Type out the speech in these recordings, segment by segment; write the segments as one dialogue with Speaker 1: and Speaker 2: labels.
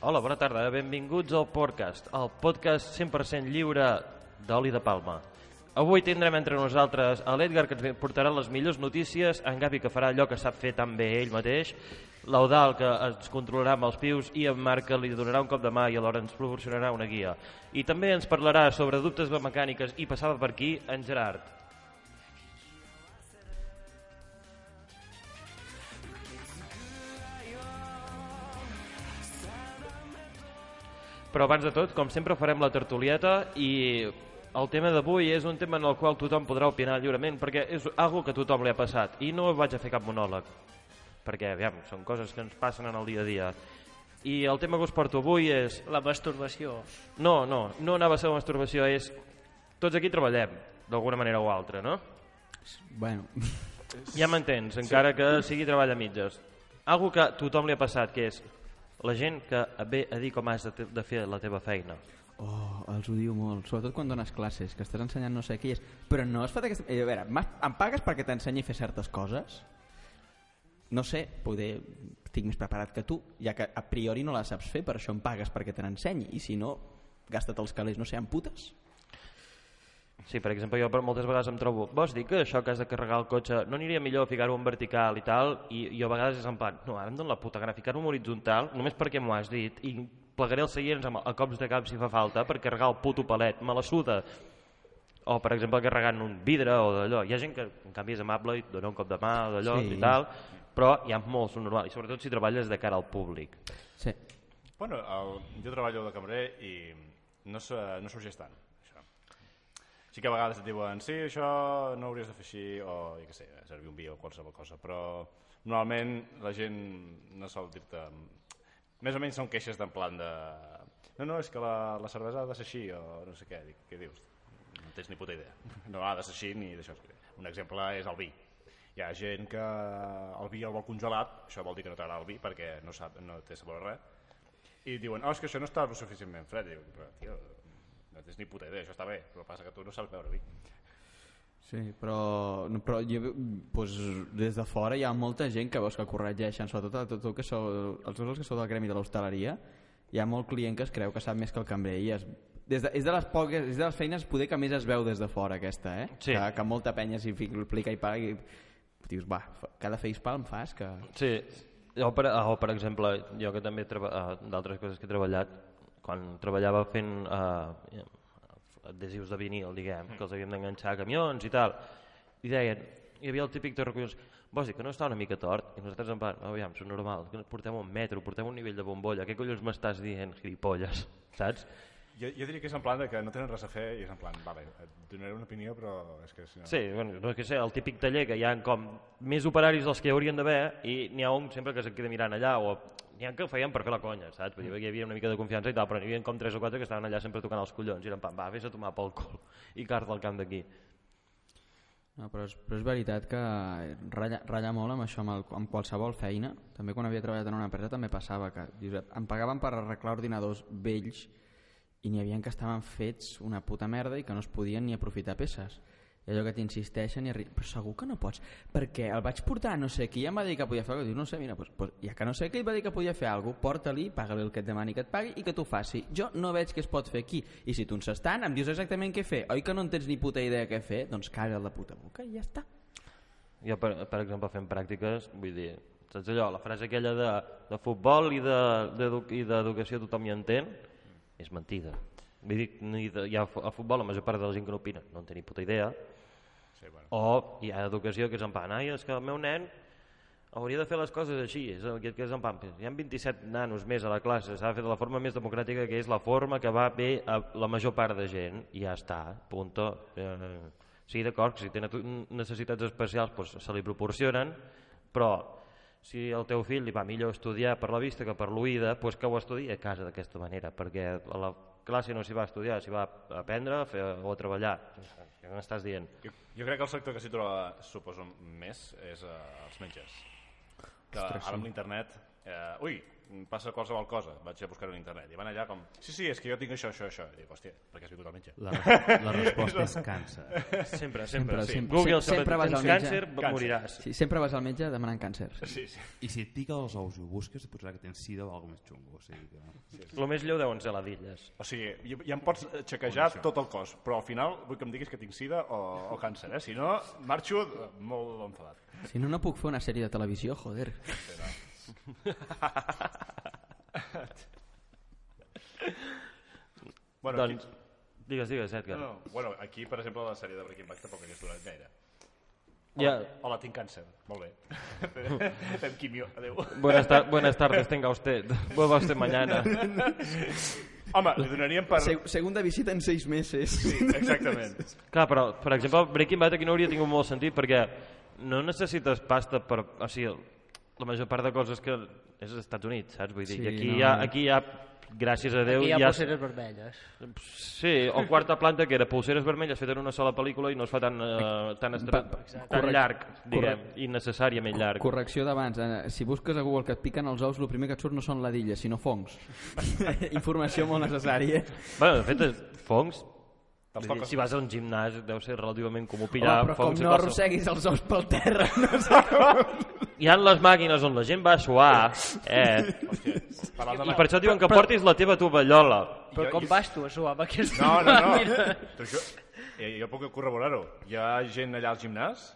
Speaker 1: Hola, bona tarda. Benvinguts al podcast, el podcast 100% lliure d'oli de palma. Avui tindrem entre nosaltres a l'Edgar, que ens portarà les millors notícies, en Gavi, que farà allò que sap fer tan bé ell mateix, l'Eudal, que ens controlarà amb els pius, i en Marc, que li donarà un cop de mà i alhora ens proporcionarà una guia. I també ens parlarà sobre dubtes de mecàniques i passava per aquí en Gerard. Però abans de tot, com sempre, farem la tertulieta i el tema d'avui és un tema en el qual tothom podrà opinar lliurement perquè és algo que a tothom li ha passat i no vaig a fer cap monòleg perquè, aviam, són coses que ens passen en el dia a dia. I el tema que us porto avui és...
Speaker 2: La masturbació.
Speaker 1: No, no, no anava a ser una masturbació, és... Tots aquí treballem, d'alguna manera o altra, no?
Speaker 3: Bueno,
Speaker 1: Ja m'entens, encara que sigui treball a mitges. Algo que a tothom li ha passat, que és la gent que et ve a dir com has de, te- de fer la teva feina.
Speaker 3: oh, els odio molt, sobretot quan dones classes, que estàs ensenyant no sé què és, però no has fet aquesta... Eh, a veure, m'has- em pagues perquè t'ensenyi a fer certes coses? No sé, poder estic més preparat que tu, ja que a priori no la saps fer, per això em pagues perquè te n'ensenyi, i si no, gasta't els calés, no sé, en putes.
Speaker 1: Sí, per exemple, jo per moltes vegades em trobo vols dir que això que has de carregar el cotxe no aniria millor ficar-ho en vertical i tal i jo a vegades és en plan, no, ara em dóna la puta gana ficar-ho en horitzontal només perquè m'ho has dit i plegaré els seients amb, a cops de cap si fa falta per carregar el puto palet, me la suda o per exemple carregant un vidre o d'allò, hi ha gent que en canvi és amable i et dona un cop de mà o d'allò
Speaker 3: Sí.
Speaker 1: i tal però hi ha molts són normal i sobretot si treballes de cara al públic
Speaker 3: Sí.
Speaker 4: Bueno, el, jo treballo de cambrer i no, se, no sorgeix tant, això. Sí que a vegades et diuen, sí, això no ho hauries de fer així, o jo què sé, servir un vi o qualsevol cosa, però normalment la gent no sol dir-te... Més o menys són queixes d'en plan de... No, no, és que la, la cervesa ha de ser així, o no sé què, dic, què dius? No tens ni puta idea. No ha de ser així ni d'això. Un exemple és el vi. Hi ha gent que el vi el vol congelat, això vol dir que no t'agrada el vi perquè no, sap, no té sabor a res, i diuen, oh, és que això no està lo suficientment fred. I diuen, però, tio, no tens ni puta idea, això està bé, però passa que tu no saps beure vi.
Speaker 3: Sí, però, no, però jo, doncs, des de fora hi ha molta gent que veus que corregeixen, sobretot a tot, tot que sou, els tots els que sou del gremi de l'hostaleria, hi ha molt client que es creu que sap més que el cambrer i es, des de, és de les poques, és de les feines poder que més es veu des de fora aquesta, eh?
Speaker 1: Sí.
Speaker 3: Que, que molta penya s'hi fica, implica i paga i dius, va, fa- cada facepalm fas que...
Speaker 1: Sí, o per, o per exemple, jo que també treba- eh, d'altres coses que he treballat, quan treballava fent eh, adhesius de vinil, diguem, que els havíem d'enganxar a camions i tal, i deien, hi havia el típic de recollons, vols dir que no està una mica tort? I nosaltres en plan, aviam, és normal, que portem un metro, portem un nivell de bombolla, què collons m'estàs dient, gilipolles, saps?
Speaker 4: Jo, jo diria que és en plan de que no tenen res a fer i és en plan, vale, et donaré una opinió, però és que si no...
Speaker 1: Sí, bueno, no és que sé, el típic taller que hi ha com més operaris dels que hi haurien d'haver i n'hi ha un sempre que se'n queda mirant allà o n'hi ha que ho feien per fer la conya, saps? Perquè hi havia una mica de confiança i tal, però n'hi havia com 3 o 4 que estaven allà sempre tocant els collons i eren pam, va, vés a tomar pel cul i carta al camp d'aquí.
Speaker 3: No, però és, però és veritat que ratlla, ratlla molt amb això, amb, el, amb qualsevol feina. També quan havia treballat en una empresa també passava que Josep, em pagaven per arreglar ordinadors vells i n'hi havia que estaven fets una puta merda i que no es podien ni aprofitar peces. I allò que t'insisteixen i... arri- Però segur que no pots, perquè el vaig portar a no sé qui i em va dir que podia fer alguna cosa. Diu, no sé, mira, doncs, doncs, ja que no sé qui et va dir que podia fer alguna cosa, porta-li, paga-li el que et demani que et pagui i que t'ho faci. Jo no veig què es pot fer aquí. I si tu ens estan, em dius exactament què fer. Oi que no en tens ni puta idea què fer? Doncs caga la puta boca i ja està.
Speaker 1: Jo, per, per exemple, fent pràctiques, vull dir, saps allò, la frase aquella de, de futbol i de- d'edu- i d'educació tothom hi entén, és mentida. Vull dir, ni de, hi ha, fu- a futbol la major part de la gent que no opina, no en té ni puta idea,
Speaker 4: sí bueno.
Speaker 1: O hi ha educació que és en plan, ai, és que el meu nen hauria de fer les coses així, és aquest que és en plan, hi ha 27 nanos més a la classe, s'ha de fer de la forma més democràtica, que és la forma que va bé a la major part de gent, i ja està, punto. Eh, sí, d'acord, si té natu- necessitats especials doncs se li proporcionen, però si el teu fill li va millor estudiar per la vista que per l'oïda, doncs que ho estudiï a casa d'aquesta manera, perquè a la classe no s'hi va estudiar, s'hi va aprendre a fer, o a treballar. Què m'estàs dient?
Speaker 4: Jo, jo crec que el sector que s'hi troba, suposo, més és eh, els metges. Que Ostres, ara amb l'internet... Eh, ui, mm, passa qualsevol cosa, vaig a buscar-ho a internet. I van allà com, sí, sí, és que jo tinc això, això, això. I dic, hòstia, per què has vingut al metge?
Speaker 2: La, res- la resposta és càncer.
Speaker 1: Sempre, sempre.
Speaker 3: Sempre,
Speaker 1: sí.
Speaker 3: sempre.
Speaker 1: Google,
Speaker 3: Sempre
Speaker 1: sempre,
Speaker 3: vas
Speaker 1: tens
Speaker 3: al
Speaker 1: càncer,
Speaker 3: metge.
Speaker 4: Càncer.
Speaker 1: moriràs.
Speaker 3: Sí, sempre vas al metge demanant càncer.
Speaker 4: Sí, sí.
Speaker 2: I si et pica els ous i ho busques, et posarà que tens sida o alguna més xungo. O sigui que...
Speaker 1: El més lleu deuen ser ladilles.
Speaker 4: O sigui, ja, ja em pots xequejar tot el cos, però al final vull que em diguis que tinc sida o, o càncer, eh? Si no, marxo eh, molt enfadat.
Speaker 3: Si no, no puc fer una sèrie de televisió, joder.
Speaker 4: Bueno,
Speaker 1: Doncs,
Speaker 4: aquí,
Speaker 1: digues, digues, Edgar.
Speaker 4: no, no, bueno, aquí, per exemple, la sèrie de Breaking Bad tampoc hagués durat gaire.
Speaker 1: Ja,
Speaker 4: Hola, tinc càncer. Molt bé. Fem quimio. Adéu.
Speaker 1: buenas, tar buenas tardes, tenga usted. Vuelva usted mañana.
Speaker 4: Home, li donaríem per...
Speaker 3: Se segunda visita en seis meses. Sí.
Speaker 4: Exactament.
Speaker 1: Clar, però, per exemple, Breaking Bad aquí no hauria tingut molt sentit perquè no necessites pasta per... O sigui, la major part de coses que... És als Estats Units, saps? Vull dir,
Speaker 3: Sí,
Speaker 1: sí, aquí,
Speaker 3: no.
Speaker 1: no. hi ha, aquí hi ha, gràcies a Déu...
Speaker 5: Aquí hi ha
Speaker 1: ja-
Speaker 5: pulseres vermelles.
Speaker 1: Sí, o quarta planta, que era Pulseres Vermelles, fet en una sola pel·lícula i no es fa tan, eh, tan, estra... tan
Speaker 3: correcte.
Speaker 1: llarg, diguem,
Speaker 3: Correcte.
Speaker 1: innecessàriament llarg.
Speaker 3: Correcció d'abans. eh, Si busques a Google que et piquen els ous, el primer que et surt no són ladilles, sinó fongs. Informació molt necessària.
Speaker 1: Bueno, de fet, és- fongs...
Speaker 4: Te'ls
Speaker 1: vull dir,
Speaker 4: toques.
Speaker 1: Si vas a un gimnàs, deu ser relativament comú pillar
Speaker 3: Ja, però com
Speaker 1: fongs. a
Speaker 3: no
Speaker 1: qualsevol-
Speaker 3: arrosseguis els ous pel terra, no sé com.
Speaker 1: Hi ha les màquines on la gent va a suar, eh,
Speaker 4: Parlant de
Speaker 1: I per això diuen que portis la teva tovallola.
Speaker 5: Però
Speaker 4: Jo-
Speaker 5: com
Speaker 4: jo-
Speaker 5: vas tu a suar amb aquesta
Speaker 4: No, no, no.
Speaker 5: màquina?
Speaker 4: Però jo, eh, jo puc corroborar-ho. Hi ha gent allà al gimnàs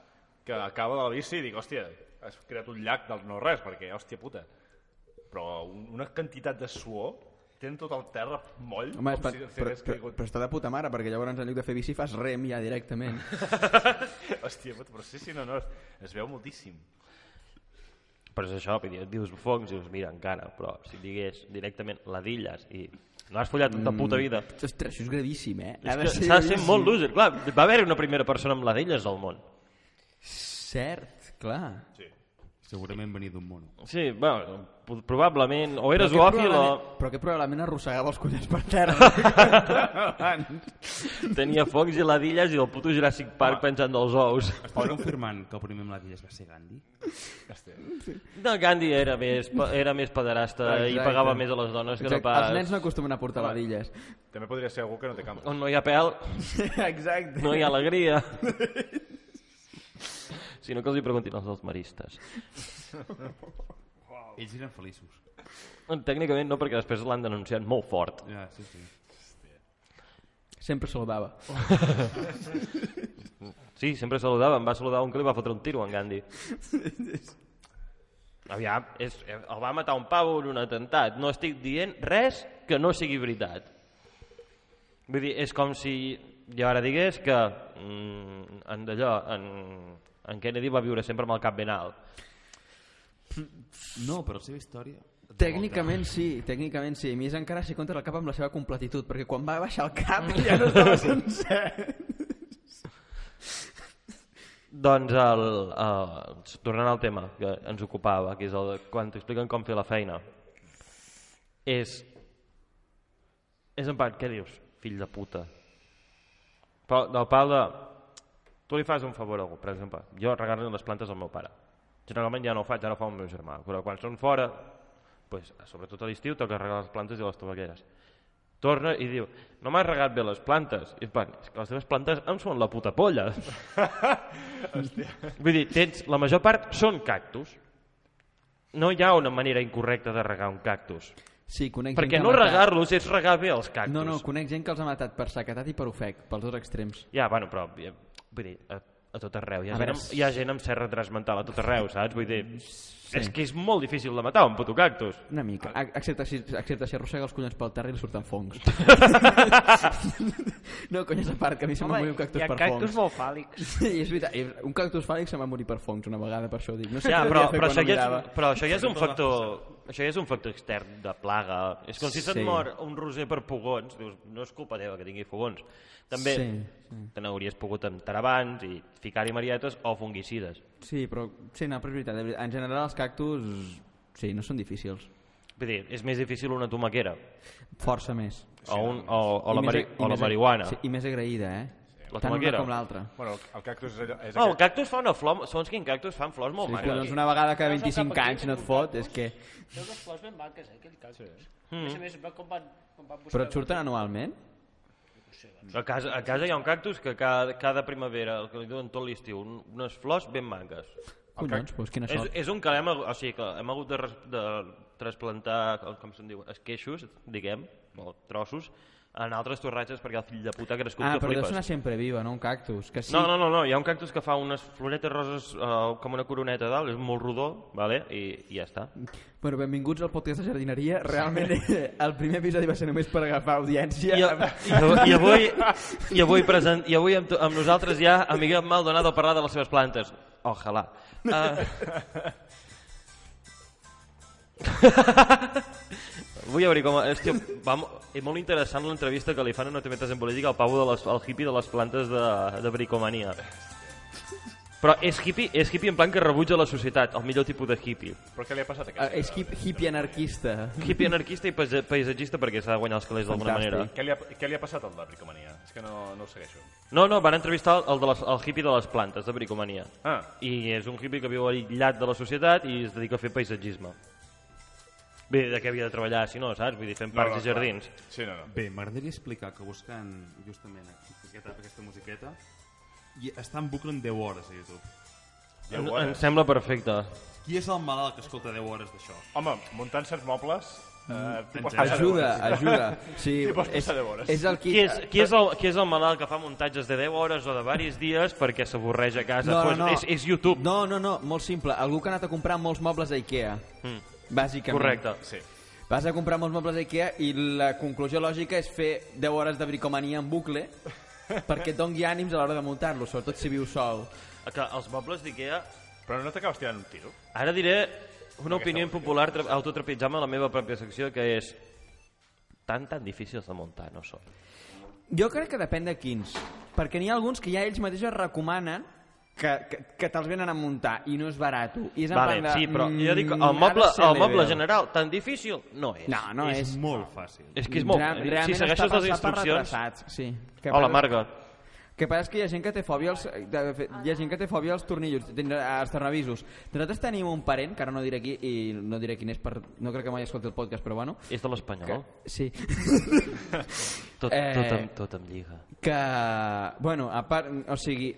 Speaker 4: que acaba de la bici i dic, hòstia, has creat un llac del no-res, perquè, hòstia puta. Però un- una quantitat de suor tenen tot el terra moll,
Speaker 3: Home,
Speaker 4: com
Speaker 3: per,
Speaker 4: si, si
Speaker 3: però,
Speaker 4: hagués
Speaker 3: però,
Speaker 4: caigut.
Speaker 3: però, està de puta mare, perquè llavors en lloc de fer bici fas rem ja directament.
Speaker 4: Hòstia puta, però sí, sí, no, no, es, es veu moltíssim.
Speaker 1: Però és això, vull dir, dius fongs i dius, mira, encara, però si digués directament ladilles i no has follat tanta puta vida...
Speaker 3: Ostres, això és gravíssim, eh?
Speaker 1: És que S'ha de ser molt loser, clar, va haver una primera persona amb ladilles al món.
Speaker 3: Cert, clar.
Speaker 4: Sí.
Speaker 2: Segurament venir d'un mono.
Speaker 1: Sí, bueno, po- probablement, o eres
Speaker 3: Però aquest
Speaker 1: zoòfil o
Speaker 3: probablement- Però que probablement arrossegava els collons per terra.
Speaker 1: tenia fongs i ladilles i el puto Jurassic Park penjant dels ous.
Speaker 2: Es pot confirmar que el primer amb la va ser Gandhi?
Speaker 4: Hòstia.
Speaker 1: No, Gandhi era més, pa- era més pederasta i
Speaker 3: Exacte.
Speaker 1: pagava més a les dones que no
Speaker 3: Exacte,
Speaker 1: pas...
Speaker 3: Els nens no acostumen a portar ladilles.
Speaker 4: També podria ser algú que no té cama.
Speaker 1: On no hi ha pèl,
Speaker 3: Exacte.
Speaker 1: no hi ha alegria. Sinó que els hi preguntin als maristes.
Speaker 2: Ells eren feliços.
Speaker 1: Tècnicament no, perquè després l'han denunciat molt fort.
Speaker 2: Ja, Ah, sí, sí.
Speaker 3: Sempre saludava.
Speaker 1: Sí, sempre saludava, em va saludar un que li va fotre un tiro, en Gandhi. Aviam, és, el va matar un pavo en un atemptat. No estic dient res que no sigui veritat. Vull dir, és com si jo ara digués que mm, en d'allò, en, en Kennedy va viure sempre amb el cap ben alt.
Speaker 2: No, però la seva història...
Speaker 3: Tècnicament sí, tècnicament sí. A més encara s'hi compta el cap amb la seva completitud, perquè quan va baixar el cap ja no estava sencer.
Speaker 1: Doncs, el, el, tornant al tema que ens ocupava, que és el, de quan t'expliquen com fer la feina, és... És en part, què dius? Fill de puta. Però del pal de... Tu li fas un favor a algú, per exemple. Jo regarro les plantes al meu pare. Generalment ja no ho faig, ara ho fa el meu germà. Però quan són fora, pues, sobretot a l'estiu, toca regar les plantes i les tovalleres. Torna i diu, no m'has regat bé les plantes. I en plan, és que les teves plantes em són la puta polla. Vull dir, tens, la major part són cactus. No hi ha una manera incorrecta de regar un cactus.
Speaker 3: Sí, conec gent
Speaker 1: Perquè
Speaker 3: que
Speaker 1: no
Speaker 3: ha matat-
Speaker 1: regar-los és regar bé els cactus.
Speaker 3: No, no, conec gent que els ha matat per sequedat i per ofec, pels dos extrems.
Speaker 1: Ja, bueno, però... eh, Vull dir, a, a tot arreu. Hi ha,
Speaker 3: A
Speaker 1: gent
Speaker 3: veure,
Speaker 1: amb, hi ha gent amb serra transmental a tot arreu, saps? Vull dir, sí. és que és molt difícil de matar un puto cactus.
Speaker 3: Una mica, a- excepte si, excepte si arrossega els collons pel terra i li surten fongs. no, conyes a part, que a mi se m'ha
Speaker 5: Home,
Speaker 3: morit un cactus
Speaker 5: hi ha
Speaker 3: per
Speaker 5: cactus
Speaker 3: fongs.
Speaker 5: molt fàl·lics.
Speaker 3: Sí, és veritat, i un cactus fàl·lic se m'ha morit per fongs una vegada, per això ho dic. No sé
Speaker 1: Ja,
Speaker 3: què
Speaker 1: però, però,
Speaker 3: devia fer quan
Speaker 1: això
Speaker 3: ho
Speaker 1: ja
Speaker 3: mirava.
Speaker 1: és, però això ja és un factor... Això ja és un factor extern de plaga. És com si se't
Speaker 3: Sí.
Speaker 1: mor un roser per pugons. Dius, no és culpa teva que tingui fogons. També sí,
Speaker 3: Sí,
Speaker 1: sí. te n'hauries pogut entrar abans i ficar-hi marietes o fungicides.
Speaker 3: Sí, però... Sí, no, però és veritat. En general els cactus... Sí, no són difícils.
Speaker 1: Vull dir, és més difícil una tomaquera
Speaker 3: Força més.
Speaker 1: o, un, o, o, la,
Speaker 3: I més-
Speaker 1: mari,
Speaker 3: i
Speaker 1: o la
Speaker 3: més-
Speaker 1: marihuana.
Speaker 3: Sí, I més agraïda, eh?
Speaker 1: La
Speaker 3: tant una
Speaker 1: tomaquera.
Speaker 3: com l'altra.
Speaker 4: Bueno, el- el cactus és allò... És
Speaker 1: Oh, el cactus fa una flor, segons quin cactus fan flors molt
Speaker 3: Sí,
Speaker 1: maques.
Speaker 3: collons, una vegada cada
Speaker 5: Veus el
Speaker 3: 25
Speaker 5: cap aquí,
Speaker 3: anys no et
Speaker 5: aquell
Speaker 3: fot,
Speaker 5: cactus?
Speaker 3: és que...
Speaker 5: Té unes flors ben maques, eh, aquell cactus. Sí. A més a més, va com van, com van buscar...
Speaker 3: Però et surten anualment?
Speaker 1: A casa, a casa hi ha un cactus que cada, cada primavera, el que li duen tot l'estiu, un- unes flors ben maques.
Speaker 3: Collons, doncs quina
Speaker 1: És,
Speaker 3: sort.
Speaker 1: és un que hem, o sigui, que hem hagut de, res, de trasplantar, com- com se'n diu, esqueixos, diguem, o trossos, en altres torratges perquè el fill de puta ha crescut
Speaker 3: Ah,
Speaker 1: que
Speaker 3: però deu
Speaker 1: flipes.
Speaker 3: sonar sempre viva, no? Un cactus. Que sí,
Speaker 1: No, no, no, no, hi ha un cactus que fa unes floretes roses uh, com una coroneta a dalt, és molt rodó, vale? I, i ja està.
Speaker 3: Bueno, benvinguts al podcast de jardineria. Realment, eh, el primer episodi va ser només per agafar audiència.
Speaker 1: I, a- i, av- i avui, i avui, present, i avui amb, to- amb nosaltres hi ha en Miguel Maldonado a parlar de les seves plantes. Ojalà. Uh... Vull veure com... Hòstia, va, mo- és molt interessant l'entrevista que li fan a No te metes en política al pavo de les, al hippie de les plantes de, de bricomania. Però és hippie, és hippie en plan que rebutja la societat, el millor tipus de hippie.
Speaker 4: Però què li ha passat a
Speaker 3: Ah,
Speaker 4: aquest?
Speaker 3: és hip, hippie anarquista.
Speaker 1: Hippie anarquista i paisa- paisatgista perquè s'ha de guanyar els calés d'alguna
Speaker 3: Fantàstic.
Speaker 1: manera.
Speaker 4: Què li ha, què li ha passat al de Bricomania? És que no, no ho segueixo.
Speaker 1: No, no, van entrevistar el, de les, el hippie de les plantes, de bricomania.
Speaker 4: Ah.
Speaker 1: I és un hippie que viu aïllat de la societat i es dedica a fer paisatgisme. Bé, de què havia de treballar, si no, saps? Vull dir, fent parcs
Speaker 4: no,
Speaker 1: i jardins.
Speaker 4: clar. Sí, no, no.
Speaker 2: Bé, m'agradaria explicar que buscant justament aquí, aquesta, aquesta musiqueta i està en bucle en 10 hores a YouTube.
Speaker 4: Ja
Speaker 1: En,
Speaker 4: ho
Speaker 1: em
Speaker 4: veus.
Speaker 1: sembla perfecte.
Speaker 2: Qui és el malalt que escolta 10 hores d'això?
Speaker 4: Home, muntant certs mobles... Eh, tu pots passar
Speaker 3: Mm. Ajuda,
Speaker 4: de
Speaker 3: ajuda. Sí,
Speaker 4: T'hi pots
Speaker 3: és,
Speaker 4: passar de vores.
Speaker 3: és el qui...
Speaker 1: Qui és, qui, és el, qui és el malalt que fa muntatges de 10 hores o de varis dies perquè s'avorreix a casa?
Speaker 3: No, no,
Speaker 1: Pues
Speaker 3: no.
Speaker 1: És, és YouTube.
Speaker 3: No, no, no, molt simple. Algú que ha anat a comprar molts mobles a Ikea. Mm. Bàsicament.
Speaker 1: Correcte.
Speaker 4: bones. Sí.
Speaker 3: Vas a comprar molts mobles a Ikea i la conclusió lògica és fer 10 hores de bricomania en bucle perquè et doni ànims a l'hora de muntar-lo, sobretot si viu sol.
Speaker 1: Que els mobles d'Ikea...
Speaker 4: Però no t'acabes tirant un tiro?
Speaker 1: Ara diré una opinió impopular tra- autotrepitjant-me la meva pròpia secció, que és... Tan, tan difícils de muntar, no són.
Speaker 3: Jo crec que depèn de quins, perquè n'hi ha alguns que ja ells mateixos recomanen que, que, que te'ls venen a muntar i no és barat. I és en
Speaker 1: Vale,
Speaker 3: plan de,
Speaker 1: sí, però
Speaker 3: mm,
Speaker 1: jo dic,
Speaker 3: ha
Speaker 1: el
Speaker 3: de
Speaker 1: moble,
Speaker 3: ser
Speaker 1: el moble
Speaker 3: level.
Speaker 1: general, tan difícil no és.
Speaker 3: No, Ah, no és...
Speaker 2: és molt fàcil.
Speaker 1: És que és molt... eh?
Speaker 3: Real- realment
Speaker 1: si segueixes
Speaker 3: està
Speaker 1: les
Speaker 3: pensat per
Speaker 1: instruccions...
Speaker 3: retrasats, Sí. Que
Speaker 1: Hola,
Speaker 3: passa-
Speaker 1: Marga.
Speaker 3: Que passa és que hi ha gent que té fòbia als, de fet, hi ha gent que té fòbia als tornillos, tindrà- als tornavisos. Nosaltres tenim un parent, que ara no diré qui, i no diré quin és, per, no crec que mai escolti el podcast, però bueno,
Speaker 1: És de l'Espanyol.
Speaker 3: sí,
Speaker 1: Tot,
Speaker 3: Eh,
Speaker 1: tot, em, tot em lliga.
Speaker 3: que, bueno, a part, o sigui,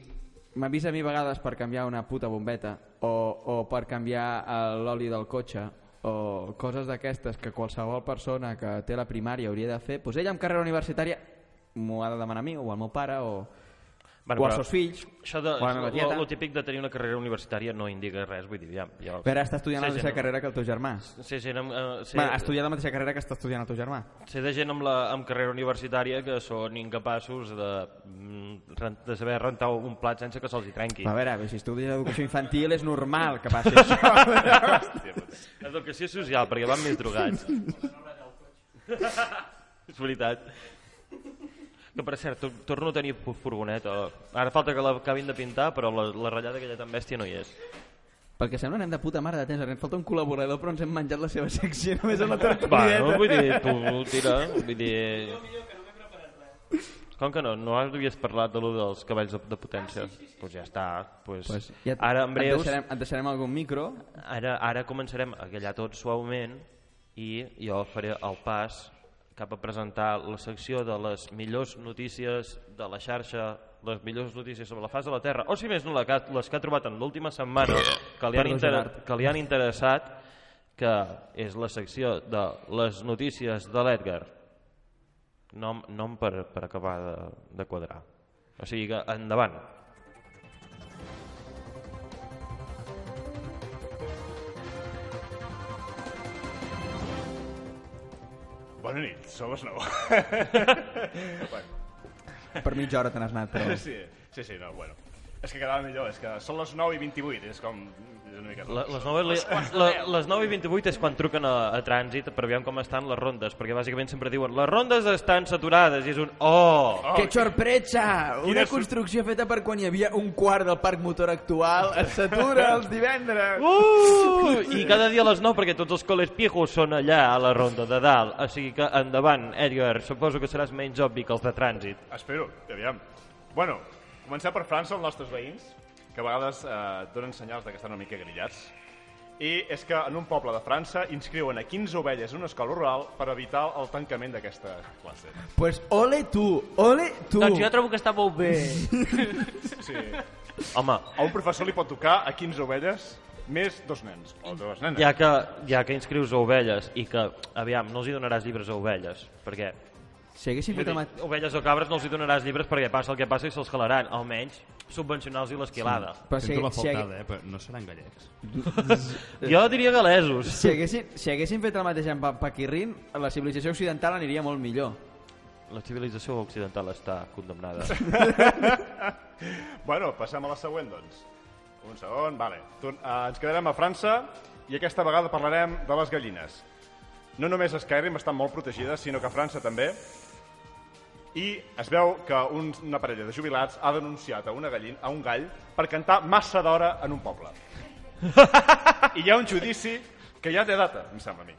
Speaker 3: m'ha vist a mi a vegades per canviar una puta bombeta o, o per canviar eh, l'oli del cotxe o coses d'aquestes que qualsevol persona que té la primària hauria de fer, doncs ella amb carrera universitària m'ho ha de demanar a mi o al meu pare o,
Speaker 1: Bueno,
Speaker 3: o als
Speaker 1: però
Speaker 3: seus fills
Speaker 1: Això de,
Speaker 3: o a la meva tieta.
Speaker 1: el típic de tenir una carrera universitària no indica res, vull dir, ja... ja
Speaker 3: Però ara està estudiant
Speaker 1: sé
Speaker 3: la mateixa
Speaker 1: gent-
Speaker 3: carrera que el teu germà.
Speaker 1: Sé, gent amb, eh,
Speaker 3: Sí.
Speaker 1: sé,
Speaker 3: Bueno, ha estudiat la mateixa carrera que està estudiant el teu germà.
Speaker 1: sé de gent amb, la, amb carrera universitària que són incapaços de, mm, ren- de saber rentar un plat sense que se'ls hi trenqui.
Speaker 3: Però a veure, si estudies educació infantil és normal que passi això.
Speaker 4: Hòstia, puta.
Speaker 1: Educació social, perquè van més drogats. és veritat. Que, per cert, to- torno a tenir fu- furgoneta. Ara falta que l'acabin de pintar, però la, la ratllada aquella tan bèstia no hi és.
Speaker 3: Perquè sembla anem de puta mare de temps, ara ens falta un col·laborador però ens hem menjat la seva secció només amb la
Speaker 1: Va,
Speaker 3: tertulieta.
Speaker 1: no, vull dir, tu tira, vull dir... Com que no? No havies parlat de lo dels cabells de, de potència? Doncs pues ja està. Pues,
Speaker 3: Pues ja
Speaker 1: ara, en breus,
Speaker 3: Et deixarem, et deixarem algun micro.
Speaker 1: ara, ara començarem a gallar tot suaument i jo faré el pas cap a presentar la secció de les millors notícies de la xarxa, les millors notícies sobre la fase de la Terra, o si més no la que, les que ha trobat en l'última setmana que li, han
Speaker 3: Perdó,
Speaker 1: inter...
Speaker 3: Gerard.
Speaker 1: que li han interessat, que és la secció de les notícies de l'Edgar. Nom, nom per, per acabar de, de quadrar. O sigui que endavant.
Speaker 4: Bona nit, som els nou. bueno,
Speaker 3: Per mitja hora te n'has anat, però...
Speaker 4: sí, sí, sí, no, bueno. És que quedava millor, és que són les 9 i 28, és com... És una mica...
Speaker 1: La- Les 9, li, la, les 9 i 28 és quan truquen a, a trànsit per veure com estan les rondes, perquè bàsicament sempre diuen les rondes estan saturades i és un oh!
Speaker 3: Que sorpresa!
Speaker 4: Quina
Speaker 3: Una
Speaker 4: sor-
Speaker 3: construcció feta per quan hi havia un quart del parc motor actual es satura els divendres!
Speaker 5: Oh!
Speaker 1: Uh! I cada dia a les 9 perquè tots els col·les pijos són allà a la ronda de dalt, o sigui que endavant, Edgar, suposo que seràs menys obvi que els de trànsit.
Speaker 4: Espero, aviam. Bueno, comencem per França, els nostres veïns, que a vegades eh, donen senyals de que estan una mica grillats. I és que en un poble de França inscriuen a 15 ovelles en una escola rural per evitar el tancament d'aquesta classe.
Speaker 6: Pues ole tu, ole tu.
Speaker 5: Doncs jo trobo que està molt bé.
Speaker 4: Sí. A
Speaker 1: Home,
Speaker 4: un professor li pot tocar a 15 ovelles més dos nens, o dues nenes.
Speaker 1: ja que, ja que inscrius a ovelles i que, aviam, no els hi donaràs llibres a ovelles, perquè
Speaker 3: Si haguessin fet el
Speaker 1: Vull
Speaker 3: mateix...
Speaker 1: dir, ovelles o cabres no els hi donaràs llibres perquè passa el que passa i se'ls calaran, almenys subvencionar-los i l'esquilada.
Speaker 3: Però si,
Speaker 2: Sento la
Speaker 3: si,
Speaker 2: faltada,
Speaker 3: haguessin,
Speaker 2: eh? Però no seran gallecs.
Speaker 1: Jo diria galesos.
Speaker 3: si, haguessin, si haguessin fet el mateix amb Pa- Paquirrin, la civilització occidental aniria molt millor.
Speaker 1: La civilització occidental està condemnada.
Speaker 4: Bueno, passem a la següent, doncs. Un segon, vale. Tor- eh, ens quedarem a França i aquesta vegada parlarem de les gallines. No només Skyrim estan molt protegides, sinó que França també. I es veu que un, una parella de jubilats ha denunciat a, una gallin, a un gall per cantar massa d'hora en un poble. I hi ha un judici que ja té data, em sembla a mi.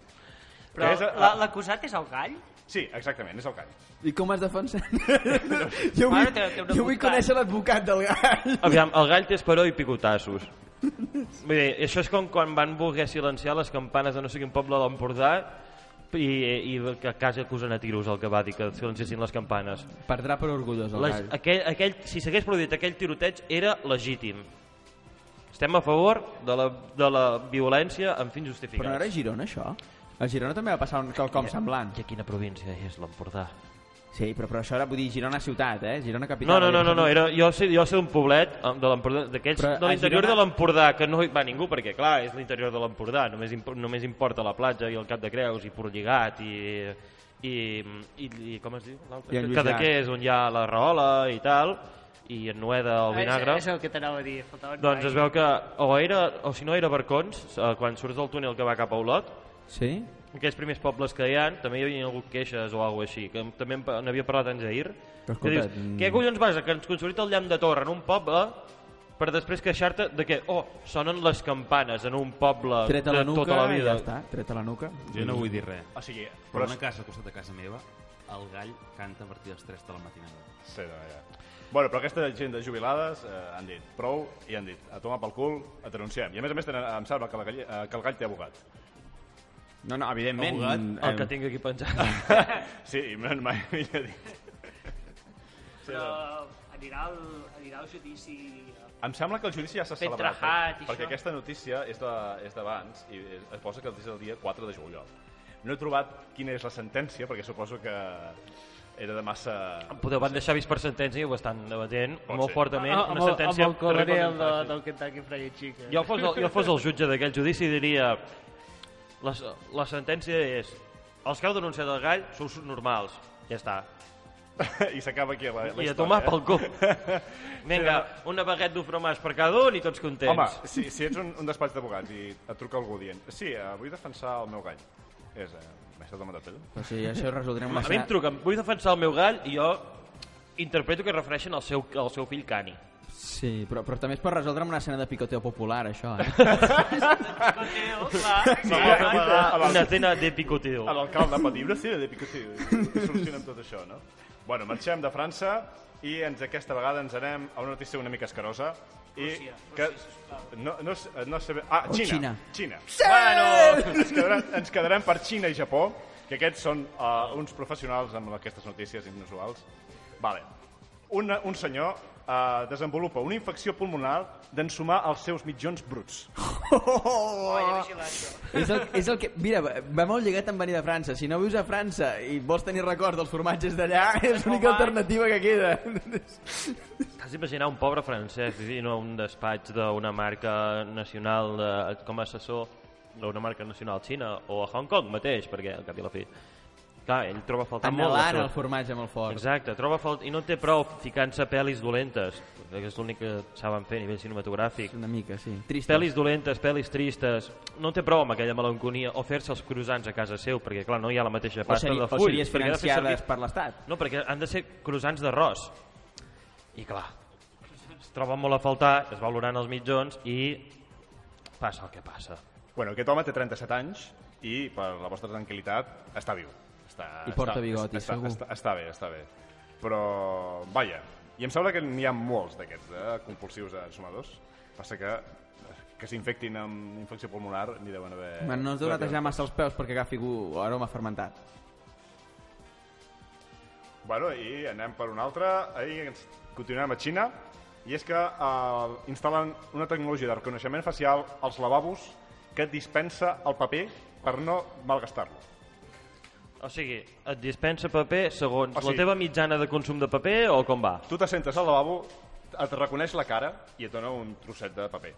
Speaker 5: Però
Speaker 4: Que és, eh,
Speaker 5: la- l'acusat és el gall?
Speaker 4: Sí, exactament, és el gall.
Speaker 3: I com es defensen? jo vull,
Speaker 5: Mare, té- té un
Speaker 3: jo vull
Speaker 5: advocat.
Speaker 3: conèixer l'advocat del gall.
Speaker 1: Aviam, el gall té esperó i picotassos. Vull dir, això és com quan van voler silenciar les campanes de no sé quin poble d'Empordà i, i que quasi acusen a tiros el que va dir que silenciessin les campanes.
Speaker 3: Perdrà per orgullós el
Speaker 1: Les,
Speaker 3: gall.
Speaker 1: aquell, aquell, si s'hagués produït aquell tiroteig era legítim. Estem a favor de la, de la violència amb fins justificats.
Speaker 3: Però no era a Girona, això? A Girona també va passar un quelcom semblant.
Speaker 1: I a quina província és l'Empordà?
Speaker 3: Sí, però, però això era, vull dir, Girona ciutat, eh? Girona
Speaker 1: No,
Speaker 3: capital.
Speaker 1: no, no, no, no era, jo, sé, jo sé d'un poblet um, de l'Empordà, d'aquells
Speaker 3: Però
Speaker 1: de
Speaker 3: a
Speaker 1: l'interior
Speaker 3: Girona-
Speaker 1: de l'Empordà, que no hi va ningú, perquè clar, és l'interior de l'Empordà, només, imp només importa la platja i el Cap de Creus i Portlligat i, i, i, i com es diu?
Speaker 3: I en Lluís
Speaker 1: Cadaqués, on hi ha la Rahola i tal, i en Noeda el vinagre.
Speaker 5: Ah, és, és el que t'anava a dir. Faltava un
Speaker 1: Doncs es
Speaker 5: gall.
Speaker 1: veu que o, era, o si no era Barcons, eh, quan surts del túnel que va cap a Olot,
Speaker 3: Sí?
Speaker 1: aquells primers pobles que hi ha, també hi havia hagut queixes o alguna així, que també en pa- n'havia parlat en Jair.
Speaker 3: Però
Speaker 1: Que dius,
Speaker 3: escolta, mm.
Speaker 1: què collons vas, a que ens construït el llamp de torre en un poble per després queixar-te de que, oh, sonen les campanes en un poble
Speaker 3: Tret a
Speaker 1: de
Speaker 3: la nuca
Speaker 1: tota la
Speaker 3: i
Speaker 1: vida.
Speaker 3: ja està. Tret a la nuca.
Speaker 2: Jo no vull dir res.
Speaker 4: O sigui,
Speaker 2: Però
Speaker 4: però...
Speaker 2: en una casa al costat de casa meva, el gall canta a partir de les 3 de la matinada.
Speaker 4: Sí, no, ja. Bueno, però aquesta gent de jubilades eh, han dit prou i han dit a tomar pel cul, et denunciem. I a més a més tenen, em sembla que, la galle, eh, que el gall té abogat.
Speaker 3: No, no, evidentment. Eh,
Speaker 2: Abogat,
Speaker 1: El que tinc aquí pensat.
Speaker 4: Sí, i mai, mai millor dit.
Speaker 5: Però anirà al, anirà al judici...
Speaker 4: Em sembla que el judici ja s'ha
Speaker 5: Fet
Speaker 4: celebrat, eh,
Speaker 5: trajat i
Speaker 4: perquè
Speaker 5: això.
Speaker 4: aquesta notícia és de- és d'abans i es es posa que és el dia 4 de juliol. No he trobat quina és la sentència, perquè suposo que era de massa...
Speaker 1: Podeu van deixar vist per sentència i ho estan debatent
Speaker 4: Pot
Speaker 1: molt
Speaker 4: ser.
Speaker 1: fortament.
Speaker 5: Ah, amb,
Speaker 1: una
Speaker 5: el, amb
Speaker 1: sentència
Speaker 5: el coronel de,
Speaker 1: terriblement fàcil.
Speaker 5: del Kentucky Fried Chicken.
Speaker 1: Jo fos el, jo fos el jutge d'aquell judici i diria la, la sentència és els que heu denunciat el gall sou normals. Ja està.
Speaker 4: I s'acaba aquí la, la
Speaker 1: I
Speaker 4: història.
Speaker 1: a tomar
Speaker 4: eh?
Speaker 1: pel cul. Vinga, una baguet d'ofromàs per cada un i tots contents.
Speaker 4: Home, si, si ets un, un despatx d'abogats i et truca algú dient sí, eh, vull defensar el meu gall, és... Eh, M'he estat demandat, eh?
Speaker 3: Però sí, això ho resoldrem
Speaker 1: a mi em
Speaker 3: una
Speaker 1: truquen, vull defensar el meu gall i jo interpreto que es refereixen al seu, al seu fill Cani.
Speaker 3: Sí, però, però també es pot resoldre amb una escena de picoteo popular, això, eh?
Speaker 5: Mateo, clar.
Speaker 4: Sí,
Speaker 1: Vamos a
Speaker 4: eh, a
Speaker 1: pagar
Speaker 4: l'al-
Speaker 1: una cena de picoteo.
Speaker 4: A l'alcalde pot dir, "Brasil, de Picotí, solucionem tot això, no? Bueno, marxem de França i ens, aquesta vegada ens anem a una notícia una mica escarosa. I
Speaker 5: Rússia,
Speaker 4: que,
Speaker 5: Rússia, sisplau.
Speaker 4: no, no, s- no sé... Ah,
Speaker 3: Oh,
Speaker 4: Xina.
Speaker 3: Xina.
Speaker 4: Xina. Bueno, ens quedarem, ens quedarem per Xina i Japó, que aquests són uh, uns professionals amb aquestes notícies inusuals. Vale. Un, un senyor uh, desenvolupa una infecció pulmonar d'ensumar els seus mitjons bruts.
Speaker 5: Oh, ja he vigilat això.
Speaker 3: és, el, és el que... Mira, va- va molt lligat amb venir de França. Si no vius a França i vols tenir records dels formatges d'allà, és l'única alternativa que queda.
Speaker 1: T'has d'imaginar un pobre francès vivint a un despatx d'una marca nacional de, com a assessor d'una marca nacional xina o a Hong Kong mateix, perquè al cap i a la fi... Clar, ell troba a faltar molt...
Speaker 3: Anhelant
Speaker 1: de
Speaker 3: el
Speaker 1: tot.
Speaker 3: formatge molt fort.
Speaker 1: Exacte, troba falt... i no en té prou ficant-se pel·lis dolentes, perquè és l'únic que saben fer a nivell cinematogràfic.
Speaker 3: Una mica, sí. Trist.
Speaker 1: Pel·lis dolentes, pel·lis tristes, no en té prou amb aquella melanconia, o fer-se els croissants a casa seu, perquè clar, no hi ha la mateixa
Speaker 3: O,
Speaker 1: pasta
Speaker 3: seri,
Speaker 1: de
Speaker 3: o
Speaker 1: full.
Speaker 3: sèries
Speaker 1: perquè ha de fer servir-
Speaker 3: financiades per l'Estat.
Speaker 1: no, perquè han de ser croissants d'arròs. I clar, es troben molt a faltar, es va olorant els mitjons i passa el que passa.
Speaker 4: Bueno, aquest home té 37 anys i, per la vostra tranquil·litat, està viu. Està,
Speaker 3: I porta
Speaker 4: està,
Speaker 3: bigoti,
Speaker 4: està,
Speaker 3: segur.
Speaker 4: Està, està, bé, està bé. Però, vaja, I em sembla que n'hi ha molts d'aquests, de compulsius de somadors. Passa que que s'infectin amb infecció pulmonar n'hi deuen haver...
Speaker 3: Bueno, no es deu netejar massa els peus perquè agafi gu- aroma fermentat.
Speaker 4: Bueno, i anem per un altre. Ahir ens continuem a Xina. I és que eh, instal·len una tecnologia de reconeixement facial als lavabos que dispensa el paper per no malgastar-lo.
Speaker 1: O sigui, et dispensa paper segons
Speaker 4: O sigui-
Speaker 1: la teva mitjana de consum de paper o com va?
Speaker 4: Tu te sentes al lavabo, et reconeix la cara i et dona un trosset de paper.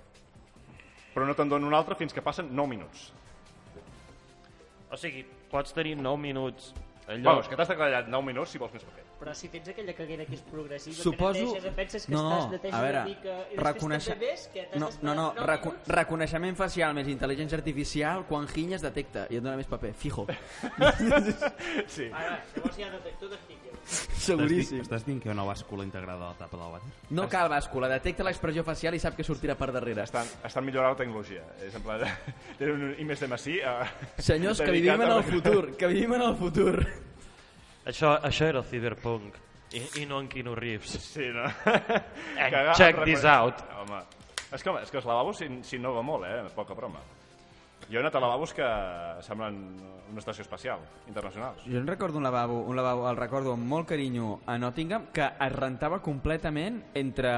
Speaker 4: Però no te'n dona un altre fins que passen 9 minuts.
Speaker 1: O sigui, pots tenir 9 minuts al
Speaker 4: Bueno,
Speaker 1: lloc.
Speaker 4: és que t'has declarat 9 minuts si vols més paper.
Speaker 5: Però si tens aquella caguera que és progressiva, que
Speaker 3: Suposo...
Speaker 5: neteges, penses que
Speaker 3: no,
Speaker 5: estàs neteges
Speaker 3: a veure,
Speaker 5: una mica... i després
Speaker 3: reconeixe...
Speaker 5: també ves que t'has
Speaker 3: no,
Speaker 5: d'esperar
Speaker 3: no, no,
Speaker 5: nou
Speaker 3: reco
Speaker 5: minuts.
Speaker 3: reconeixement facial més intel·ligència artificial quan ginyes detecta i et dona més paper, fijo,
Speaker 4: Sí.
Speaker 5: Ara, llavors hi ha detector de filles.
Speaker 2: Estàs dient,
Speaker 3: seguríssim.
Speaker 2: estàs dient que hi ha una bàscula integrada a la tapa del vàter?
Speaker 3: No cal bàscula, detecta l'expressió facial i sap que sortirà per darrere.
Speaker 4: Estan, estan millorant la tecnologia. És en plan, tenen un I més de Massí... eh,
Speaker 3: Senyors, que vivim en el futur, que vivim en el futur.
Speaker 1: Això, això era el Cyberpunk. I, i no en Keanu Reeves.
Speaker 4: Sí, no?
Speaker 1: And
Speaker 4: Cagar,
Speaker 1: check
Speaker 4: reconeix-
Speaker 1: this out.
Speaker 4: Home, és que, home, és que els lavabos s'in- s'innova molt, eh? Poca broma. Jo he anat a lavabos que semblen una estació espacial, internacionals.
Speaker 3: Jo en recordo un lavabo, un lavabo, el recordo amb molt carinyo a Nottingham, que es rentava completament entre,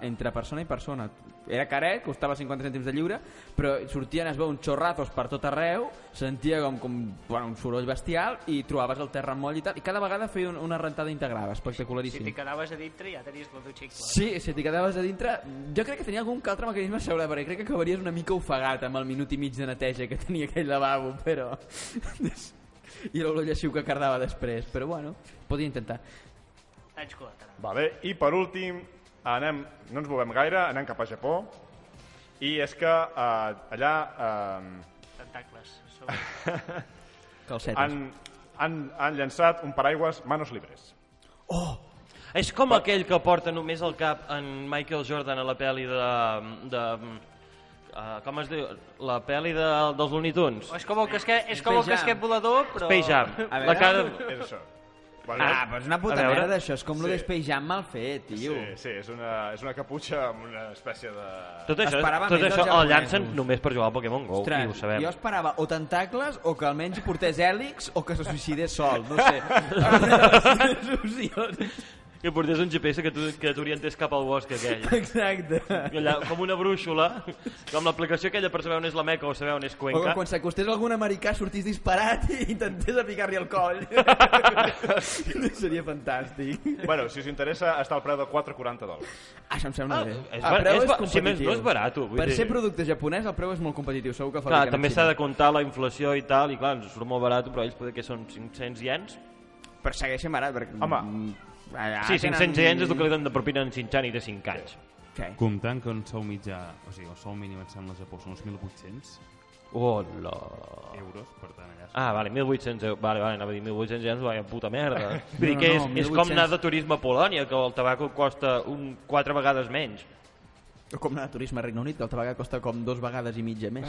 Speaker 3: entre persona i persona. Era caret, costava 50 cèntims de lliure, però sortien, es veu, uns xorratos per tot arreu, sentia com, com bueno, un soroll bestial i trobaves el terra moll i tal, i cada vegada feia un, una rentada
Speaker 5: Si
Speaker 3: integrada,
Speaker 5: t'hi
Speaker 3: espectacularíssim.
Speaker 5: quedaves a dintre ja tenies la dutxa i clar.
Speaker 3: Sí, si t'hi quedaves a dintre, jo crec que tenia algun que altre mecanisme a sobre, perquè crec que acabaries una mica ofegat amb el minut i mig de neteja que tenia aquell lavabo, però... I l'olor lleixiu que cardava després, però bueno, podia intentar.
Speaker 5: Anys col·laterals.
Speaker 4: Vale, I per últim, anem, no ens movem gaire, anem cap a Japó. I és que eh, allà eh,
Speaker 5: Tentacles. Sobre...
Speaker 3: Calcetes.
Speaker 4: han, han, han llançat un paraigües manos libres.
Speaker 1: És com aquell que porta només al cap en Michael Jordan a la pel·li de... de uh, com es diu? La pel·li de, dels Looney Tunes.
Speaker 5: O Oh, és com el casquet, és com el
Speaker 3: Space Jam.
Speaker 5: casquet volador, però...
Speaker 1: Space Jam.
Speaker 3: A
Speaker 1: La
Speaker 3: veure.
Speaker 1: cara...
Speaker 4: És això. Bueno,
Speaker 3: Ah, però és una
Speaker 1: A
Speaker 3: puta
Speaker 1: veure.
Speaker 3: merda, això. És com sí.
Speaker 4: Sí.
Speaker 3: lo d'espejam mal fet, tio.
Speaker 4: Sí, sí, és una, és una caputxa amb una espècie de...
Speaker 1: Tot això,
Speaker 3: Esperava
Speaker 1: tot
Speaker 3: més dels
Speaker 1: això el llancen
Speaker 3: japonesos.
Speaker 1: només per jugar a Pokémon GO,
Speaker 3: Ostres,
Speaker 1: i ho sabem.
Speaker 3: jo esperava o tentacles o que almenys hi portés hèlix o que se suïcidés sol, no sé. Alguna de les dues opcions.
Speaker 1: Que portés un GPS que tu- que t'orientés cap al bosc aquell.
Speaker 3: Exacte.
Speaker 1: I Allà, com una brúixola, com l'aplicació aquella per saber on és la Meca o saber on és
Speaker 3: O que
Speaker 1: Cuenca.
Speaker 3: quan s'acostés algun americà sortís disparat i intentés aplicar-li el coll. Seria fantàstic.
Speaker 4: Bueno, si us interessa, està al preu de 4,40 dòlars.
Speaker 3: Això em sembla
Speaker 1: Ah,
Speaker 3: bé.
Speaker 1: és
Speaker 3: El
Speaker 1: bar-
Speaker 3: preu
Speaker 1: és
Speaker 3: és
Speaker 1: ba- si
Speaker 3: competitiu.
Speaker 1: més no és barato, vull
Speaker 3: Per
Speaker 1: dir.
Speaker 3: ser producte japonès el preu és molt competitiu, segur que
Speaker 1: Clar,
Speaker 3: fabriquen
Speaker 1: també
Speaker 3: a
Speaker 1: s'ha
Speaker 3: Xina.
Speaker 1: de comptar la inflació i tal, i clar, ens surt molt barat, però ells poder que són 500 iens.
Speaker 3: Però segueixen barat, perquè... mm,
Speaker 4: Home.
Speaker 3: Allà
Speaker 1: sí, 500 iens és el que li donen de propina en Xinxani de 5 anys.
Speaker 3: Ah, Sí.
Speaker 2: Comptant que un sou mitjà, o sigui, el sou mínim em sembla a Japó són uns 1.800
Speaker 1: Hola.
Speaker 2: euros, per tant allà...
Speaker 1: Ah, vale, 1.800 euros. Vale, vale, anava a dir 1.800 iens, vaya puta merda. Vull dir
Speaker 3: No,
Speaker 1: que
Speaker 3: no,
Speaker 1: és, és
Speaker 3: 1.800.
Speaker 1: com anar de turisme a Polònia, que el tabaco costa un, 4 vegades menys.
Speaker 3: O com anar de turisme a Regne Unit, que el tabac costa com dos vegades i mitja més.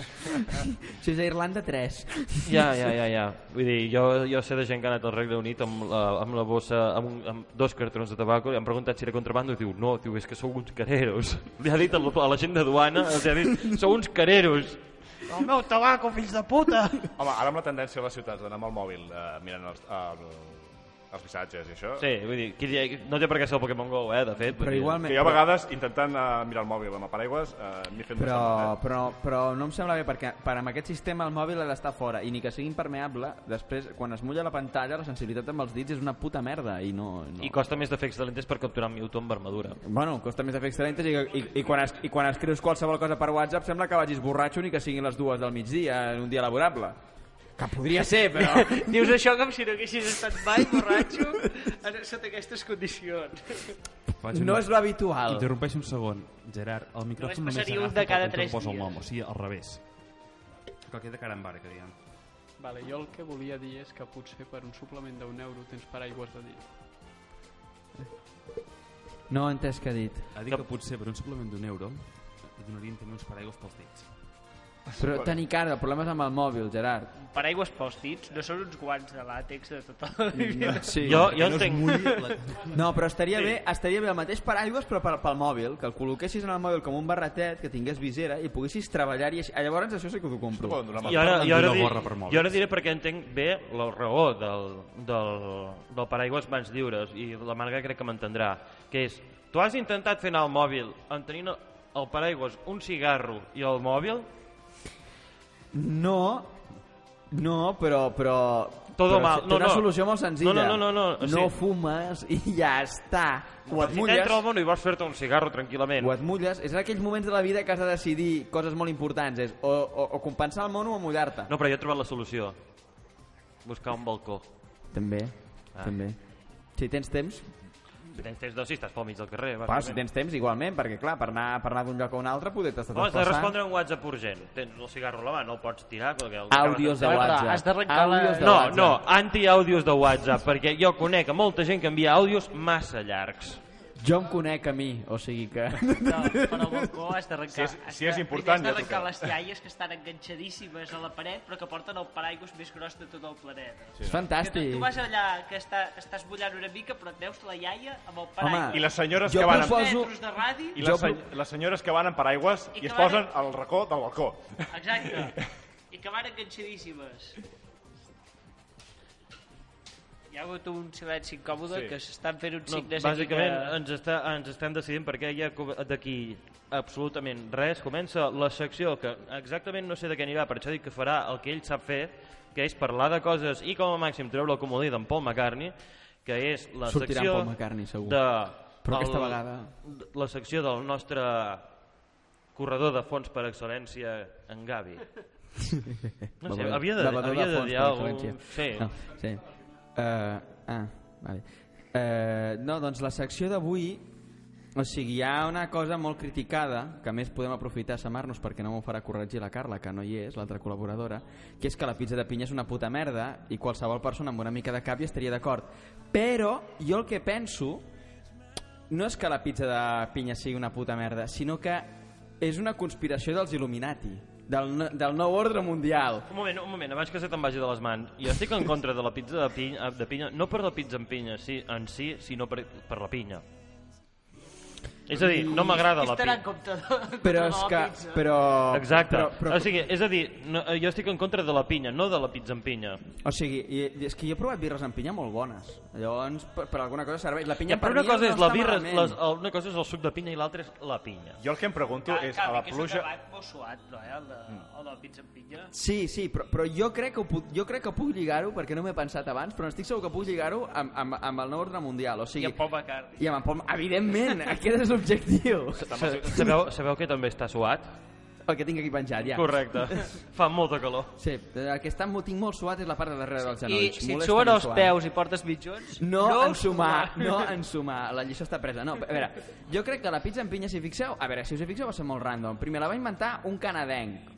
Speaker 3: si és a Irlanda, tres.
Speaker 1: Ja, ja, ja, ja. Vull dir, jo, jo sé de gent que ha anat al Regne Unit amb la, amb la bossa, amb, un, amb dos cartrons de tabaco, i han preguntat si era contrabando, i diu, no, diu, és que sou uns careros. Li ha dit a la, a la gent de duana, els ha dit, sou uns careros. El meu tabaco, fills de puta!
Speaker 4: Home, ara amb la tendència de les ciutats d'anar amb el mòbil eh, mirant els, el, els missatges i això...
Speaker 1: Sí, vull dir, qui dia- no té per què ser el Pokémon GO, eh, de fet. vull
Speaker 3: Però
Speaker 1: dir.
Speaker 3: igualment...
Speaker 4: Que jo a vegades, intentant eh, mirar el mòbil amb el paraigües, eh, m'he fet
Speaker 3: Però,
Speaker 4: bastant,
Speaker 3: però, però no em sembla bé, perquè per amb aquest sistema el mòbil ha d'estar fora, i ni que sigui impermeable, després, quan es mulla la pantalla, la sensibilitat amb els dits és una puta merda, i no... no.
Speaker 1: I costa més de fer excel·lentes per capturar un Mewtwo amb armadura.
Speaker 3: Bueno, costa més de fer excel·lentes i, i, i, quan es, i quan escrius qualsevol cosa per WhatsApp sembla que vagis borratxo ni que siguin les dues del migdia, en un dia laborable. Que podria ser, però...
Speaker 5: Dius això com si no haguessis estat mai borratxo en- sota aquestes condicions.
Speaker 2: Faig
Speaker 3: No
Speaker 2: una-
Speaker 3: és l'habitual.
Speaker 2: Interrompeix un segon. Gerard, el micròfon només
Speaker 5: passaria
Speaker 2: agafa
Speaker 5: un de cada
Speaker 2: quan tu
Speaker 5: tres
Speaker 2: posa el
Speaker 5: dies.
Speaker 2: nom, o sigui, al revés. Que queda cara en barca, diguem.
Speaker 7: Vale, jo el que volia dir és que potser per un suplement d'un euro tens paraigües de dit.
Speaker 3: No he entès què ha dit.
Speaker 2: Ha dit que potser per un suplement d'un euro et donarien també uns paraigües pels dits.
Speaker 3: Però tenir cara, problemes amb el mòbil, Gerard.
Speaker 5: Paraigües pòstits, no són uns guants de làtex de tota
Speaker 4: Mm.
Speaker 5: la vida.
Speaker 3: Sí.
Speaker 1: Jo, jo entenc...
Speaker 3: No, però estaria, sí. bé, estaria bé el mateix paraigües però pel, pel mòbil, que el col·loquessis en el mòbil com un barretet, que tingués visera i poguessis treballar-hi així. Ah, Llavors això sí que t'ho compro.
Speaker 4: Poden donar
Speaker 1: I ara,
Speaker 2: parlen
Speaker 1: i ara,
Speaker 2: d'una
Speaker 1: di-
Speaker 2: gorra per mòbils.
Speaker 1: jo ara diré perquè entenc bé la raó del, del, del paraigües mans lliures i la Marga crec que m'entendrà, que és tu has intentat fer anar el mòbil en tenint el paraigües un cigarro i el mòbil
Speaker 3: No, no, però... però
Speaker 1: Todo
Speaker 3: però
Speaker 1: mal.
Speaker 3: té
Speaker 1: No,
Speaker 3: una
Speaker 1: no.
Speaker 3: solució molt senzilla.
Speaker 1: No, no, no, no, no,
Speaker 3: No
Speaker 1: sí.
Speaker 3: fumes i ja està. O et
Speaker 1: si t'entra al
Speaker 3: mulles,
Speaker 1: món i vols fer-te un cigarro tranquil·lament
Speaker 3: o et mulles. És en aquells moments de la vida que has de decidir coses molt importants. És o, o, o compensar el mono o mullar-te.
Speaker 1: no, però jo he trobat la solució buscar un balcó
Speaker 3: També,
Speaker 1: Ah.
Speaker 3: també. Si tens temps,
Speaker 1: si tens temps, doncs si estàs pel mig del carrer
Speaker 3: Va, si tens temps, igualment, perquè clar, per anar, per anar d'un lloc a un altre poder t'estàs
Speaker 1: No, has de
Speaker 3: desplaçant.
Speaker 1: respondre a un WhatsApp urgent. Tens el cigarro a la mà, no el pots tirar perquè... el-
Speaker 3: Àudios de
Speaker 5: Però, però,
Speaker 3: WhatsApp.
Speaker 5: has d'arrencar la-
Speaker 3: Àudios de
Speaker 1: No,
Speaker 3: WhatsApp.
Speaker 1: no, anti-àudios de WhatsApp, perquè jo conec a molta gent que envia àudios massa llargs.
Speaker 3: Jo em conec a mi, o sigui que...
Speaker 5: No, però el balcó has d'arrencar.
Speaker 4: Si és-
Speaker 5: has
Speaker 4: si és
Speaker 5: de-
Speaker 4: important,
Speaker 5: primer
Speaker 4: ja
Speaker 5: has d'arrencar
Speaker 4: toca.
Speaker 5: les iaies que estan enganxadíssimes a la paret, però que porten el paraigües més gros de tot el planeta.
Speaker 3: És
Speaker 5: Que tu,
Speaker 3: fantàstic.
Speaker 5: tu vas allà, que està, estàs mullant una mica, però et veus la iaia amb el
Speaker 3: Home,
Speaker 5: paraigües.
Speaker 4: I les senyores
Speaker 3: Jo
Speaker 4: que van...
Speaker 5: Dos
Speaker 4: amb-
Speaker 3: proposo-
Speaker 5: metres de radi.
Speaker 4: I
Speaker 3: Jo
Speaker 4: les, se... les senyores que van en paraigües
Speaker 5: I
Speaker 4: i,
Speaker 5: que
Speaker 4: es
Speaker 5: van-
Speaker 4: posen al racó del balcó.
Speaker 5: Exacte. I que van enganxadíssimes. Hi ha hagut un silenci incòmode
Speaker 4: Sí.
Speaker 5: sí. que s'estan fent un
Speaker 1: No,
Speaker 5: signe
Speaker 1: bàsicament
Speaker 5: que...
Speaker 1: ens, està, ens estem decidint perquè ja co- d'aquí absolutament res. Comença la secció que exactament no sé de què anirà, per això dic que farà el que ell sap fer, que és parlar de coses i com a màxim treure el comodí d'en Paul McCartney, que és la
Speaker 3: Sortirà en
Speaker 1: secció
Speaker 3: Paul McCartney, segur.
Speaker 1: de...
Speaker 3: Però aquesta vegada-
Speaker 1: La secció del nostre corredor de fons per excel·lència, en Gavi. No sé,
Speaker 3: Bevedor-
Speaker 1: havia de,
Speaker 3: bevedor
Speaker 1: havia de,
Speaker 3: fons,
Speaker 1: dir
Speaker 3: per
Speaker 1: alguna
Speaker 3: excel·lència.
Speaker 1: Sí.
Speaker 3: No, sí. Uh, ah, vale. Uh, no, doncs la secció d'avui... O sigui, hi ha una cosa molt criticada, que a més podem aprofitar a samar-nos perquè no m'ho farà corregir la Carla, que no hi és, l'altra col·laboradora, que és que la pizza de pinya és una puta merda i qualsevol persona amb una mica de cap hi estaria d'acord. Però jo el que penso no és que la pizza de pinya sigui una puta merda, sinó que és una conspiració dels Illuminati, del, no- del nou ordre mundial.
Speaker 1: Un moment, un moment, abans que se te'n vagi de les mans. Jo estic en contra de la pizza de pinya, eh, de pinya no per la pizza amb pinya sí, en si, sinó per, per la pinya. És a dir, no m'agrada la
Speaker 5: Estarà en
Speaker 1: pinya.
Speaker 5: compte de,
Speaker 3: Però
Speaker 5: de
Speaker 3: és
Speaker 5: la
Speaker 3: que...
Speaker 5: pizza.
Speaker 3: Però,
Speaker 1: Exacte.
Speaker 3: Però, però,
Speaker 1: o sigui, és a dir, no, eh, jo estic en contra de la pinya, no de la pizza amb pinya.
Speaker 3: o sigui i, i és que jo he provat birres amb pinya molt bones. Llavors, per, per alguna cosa serveix. La pinya
Speaker 1: Ja, però
Speaker 3: per
Speaker 1: una cosa,
Speaker 3: mi
Speaker 1: és
Speaker 3: no
Speaker 1: la
Speaker 3: està
Speaker 1: birra,
Speaker 3: malament.
Speaker 1: les, el- una cosa és el suc de pinya i l'altra és la pinya.
Speaker 4: Jo el que em pregunto
Speaker 5: Cal-
Speaker 4: és,
Speaker 5: cal
Speaker 4: a la
Speaker 5: dir que és un
Speaker 4: pluja...
Speaker 5: debat molt suat, no, eh? El de, el de la pizza amb pinya.
Speaker 3: Sí, sí, però, però jo, crec que ho puc, jo crec que puc lligar-ho, perquè no m'he pensat abans, però estic segur que puc lligar-ho amb, amb, amb el nou ordre mundial. O
Speaker 5: I
Speaker 3: sigui,
Speaker 5: en Paul McCartney.
Speaker 3: I amb en Pol... Evidentment, aquest és l'objectiu.
Speaker 1: Sa, sabeu, sabeu que també està suat?
Speaker 3: El que tinc aquí penjat, ja.
Speaker 1: Correcte. Fa molta calor.
Speaker 3: Sí, eh, el que està, mo- tinc molt suat és la part de darrere dels
Speaker 5: I
Speaker 3: genolls.
Speaker 5: si et
Speaker 3: Molesta
Speaker 5: suen
Speaker 3: molt
Speaker 5: els
Speaker 3: suat.
Speaker 5: peus i portes mitjons...
Speaker 3: No, no en
Speaker 5: us
Speaker 3: sumar,
Speaker 5: sumarà.
Speaker 3: no en sumar. La lliçó està presa. No, a veure, jo crec que la pizza amb pinya, si fixeu... A veure, si us hi fixeu va ser molt random. Primer la va inventar un canadenc.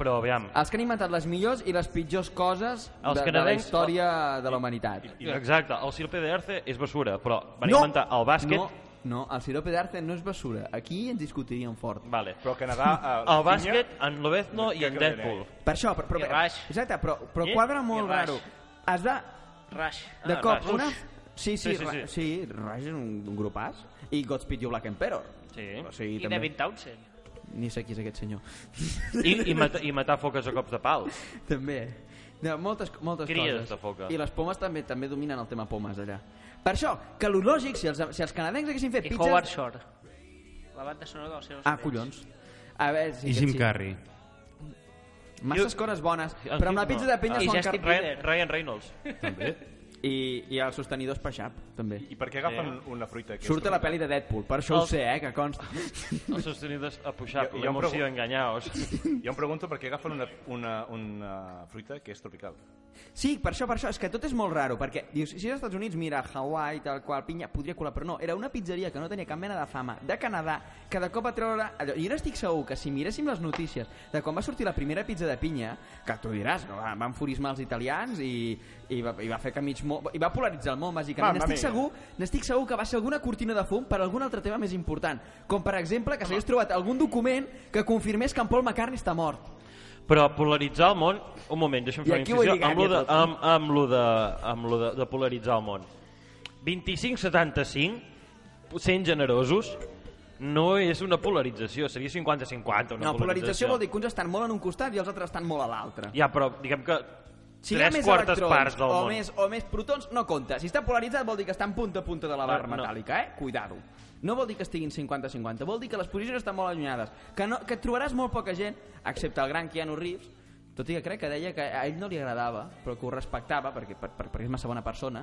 Speaker 1: Però aviam,
Speaker 3: Els que han inventat les millors i les pitjors coses
Speaker 1: Els
Speaker 3: de, de la
Speaker 1: canadencs-
Speaker 3: història de la humanitat.
Speaker 1: exacte, el sirpe d'Erce és basura, però van
Speaker 3: No!
Speaker 1: inventar el bàsquet...
Speaker 3: No, no, el sirope d'Arce no és basura. Aquí ens discutiríem fort.
Speaker 1: Vale.
Speaker 4: Però al Canadà... eh, la
Speaker 1: El
Speaker 4: pinya-
Speaker 1: bàsquet, en Lobezno i
Speaker 4: Que
Speaker 1: en
Speaker 4: cabrera, eh?
Speaker 1: Deadpool.
Speaker 3: Per això, però... però
Speaker 5: I Rush.
Speaker 3: Exacte, però, però
Speaker 1: Eh? I-
Speaker 3: quadra
Speaker 5: i
Speaker 3: molt
Speaker 5: Rush.
Speaker 3: raro. Has de
Speaker 5: Rush.
Speaker 3: De
Speaker 1: Ah,
Speaker 3: cop,
Speaker 1: Rush.
Speaker 3: una... Sí, sí,
Speaker 1: Sí,
Speaker 3: sí,
Speaker 1: sí,
Speaker 3: sí, sí. sí Rush és un, un grupàs. I Godspeed You Black Emperor.
Speaker 1: Sí.
Speaker 3: O sigui,
Speaker 5: I David Townsend.
Speaker 3: Ni sé qui és aquest senyor.
Speaker 1: I, i, mata, i matar foques a cops de pal.
Speaker 3: també. No, moltes, moltes
Speaker 1: Cries
Speaker 3: coses.
Speaker 1: de foca.
Speaker 3: I les pomes també també dominen el tema pomes allà. Per això, que lo lògic, si els, si els canadencs haguessin fet
Speaker 5: I
Speaker 3: pizzas...
Speaker 5: Howard Shore. La banda sonora dels seus
Speaker 3: Eh, Ah, collons. A veure, sí,
Speaker 2: I
Speaker 3: aquest
Speaker 2: Jim
Speaker 3: sí.
Speaker 2: Carrey.
Speaker 3: Masses coses bones, però amb la pizza de pinya
Speaker 1: Ah,
Speaker 5: I
Speaker 3: són...
Speaker 5: Justin
Speaker 3: car-
Speaker 1: Ryan,
Speaker 5: Bieber.
Speaker 1: Ryan Reynolds.
Speaker 2: També.
Speaker 3: I, I els sostenidors peixap, també.
Speaker 4: I per què agafen una fruita? Que
Speaker 3: Surt a la pel·li de Deadpool, per això ho
Speaker 1: Els-
Speaker 3: sé, eh, que consta.
Speaker 1: Els sostenidors a pujar,
Speaker 4: Jo- jo em
Speaker 1: l'emoció
Speaker 4: pregunto-
Speaker 1: enganyaos.
Speaker 4: Jo em pregunto per què agafen una, una, una fruita que és tropical.
Speaker 3: Sí, per això, per això, és que tot és molt raro, perquè dius, si és als Estats Units, mira, Hawaii, tal qual, pinya, podria colar, però no, era una pizzeria que no tenia cap mena de fama, de Canadà, que de cop a treure... Allò, jo n'estic segur que si miréssim les notícies de quan va sortir la primera pizza de pinya, que tu diràs, no, va- van furismar els italians i, i, va, i va fer que mig món... I va polaritzar el món, bàsicament.
Speaker 4: Mamma
Speaker 3: N'estic
Speaker 4: mia.
Speaker 3: segur N'estic segur que va ser alguna cortina de fum per algun altre tema més important, com per exemple que s'hagués trobat algun document que confirmés que en Paul McCartney està mort.
Speaker 1: Però polaritzar el món... Un moment, deixa'm fer
Speaker 3: I
Speaker 1: una
Speaker 3: aquí ho he
Speaker 1: incisió
Speaker 3: lligat
Speaker 1: amb lo,
Speaker 3: ja
Speaker 1: de,
Speaker 3: tot.
Speaker 1: amb, amb lo, de, amb lo de, de polaritzar el món. 25-75, sent generosos, no és una polarització, seria 50-50 una
Speaker 3: No, polarització vol dir que uns estan molt en un costat i els altres estan molt a l'altre.
Speaker 1: Ja, però diguem que
Speaker 3: Si hi ha
Speaker 1: tres
Speaker 3: més
Speaker 1: quartes
Speaker 3: electrons
Speaker 1: parts del
Speaker 3: o
Speaker 1: món.
Speaker 3: Més, o més protons, no compta. Si està polaritzat vol dir que està en punta a punta de la barra
Speaker 1: Ah, no.
Speaker 3: metàl·lica, eh? Cuidado. No vol dir que estiguin 50-50, vol dir que les posicions estan molt allunyades, que, no, que et trobaràs molt poca gent, excepte el gran Keanu Reeves, tot i que crec que deia que a ell no li agradava, però que ho respectava, perquè, per, per, perquè és massa bona persona,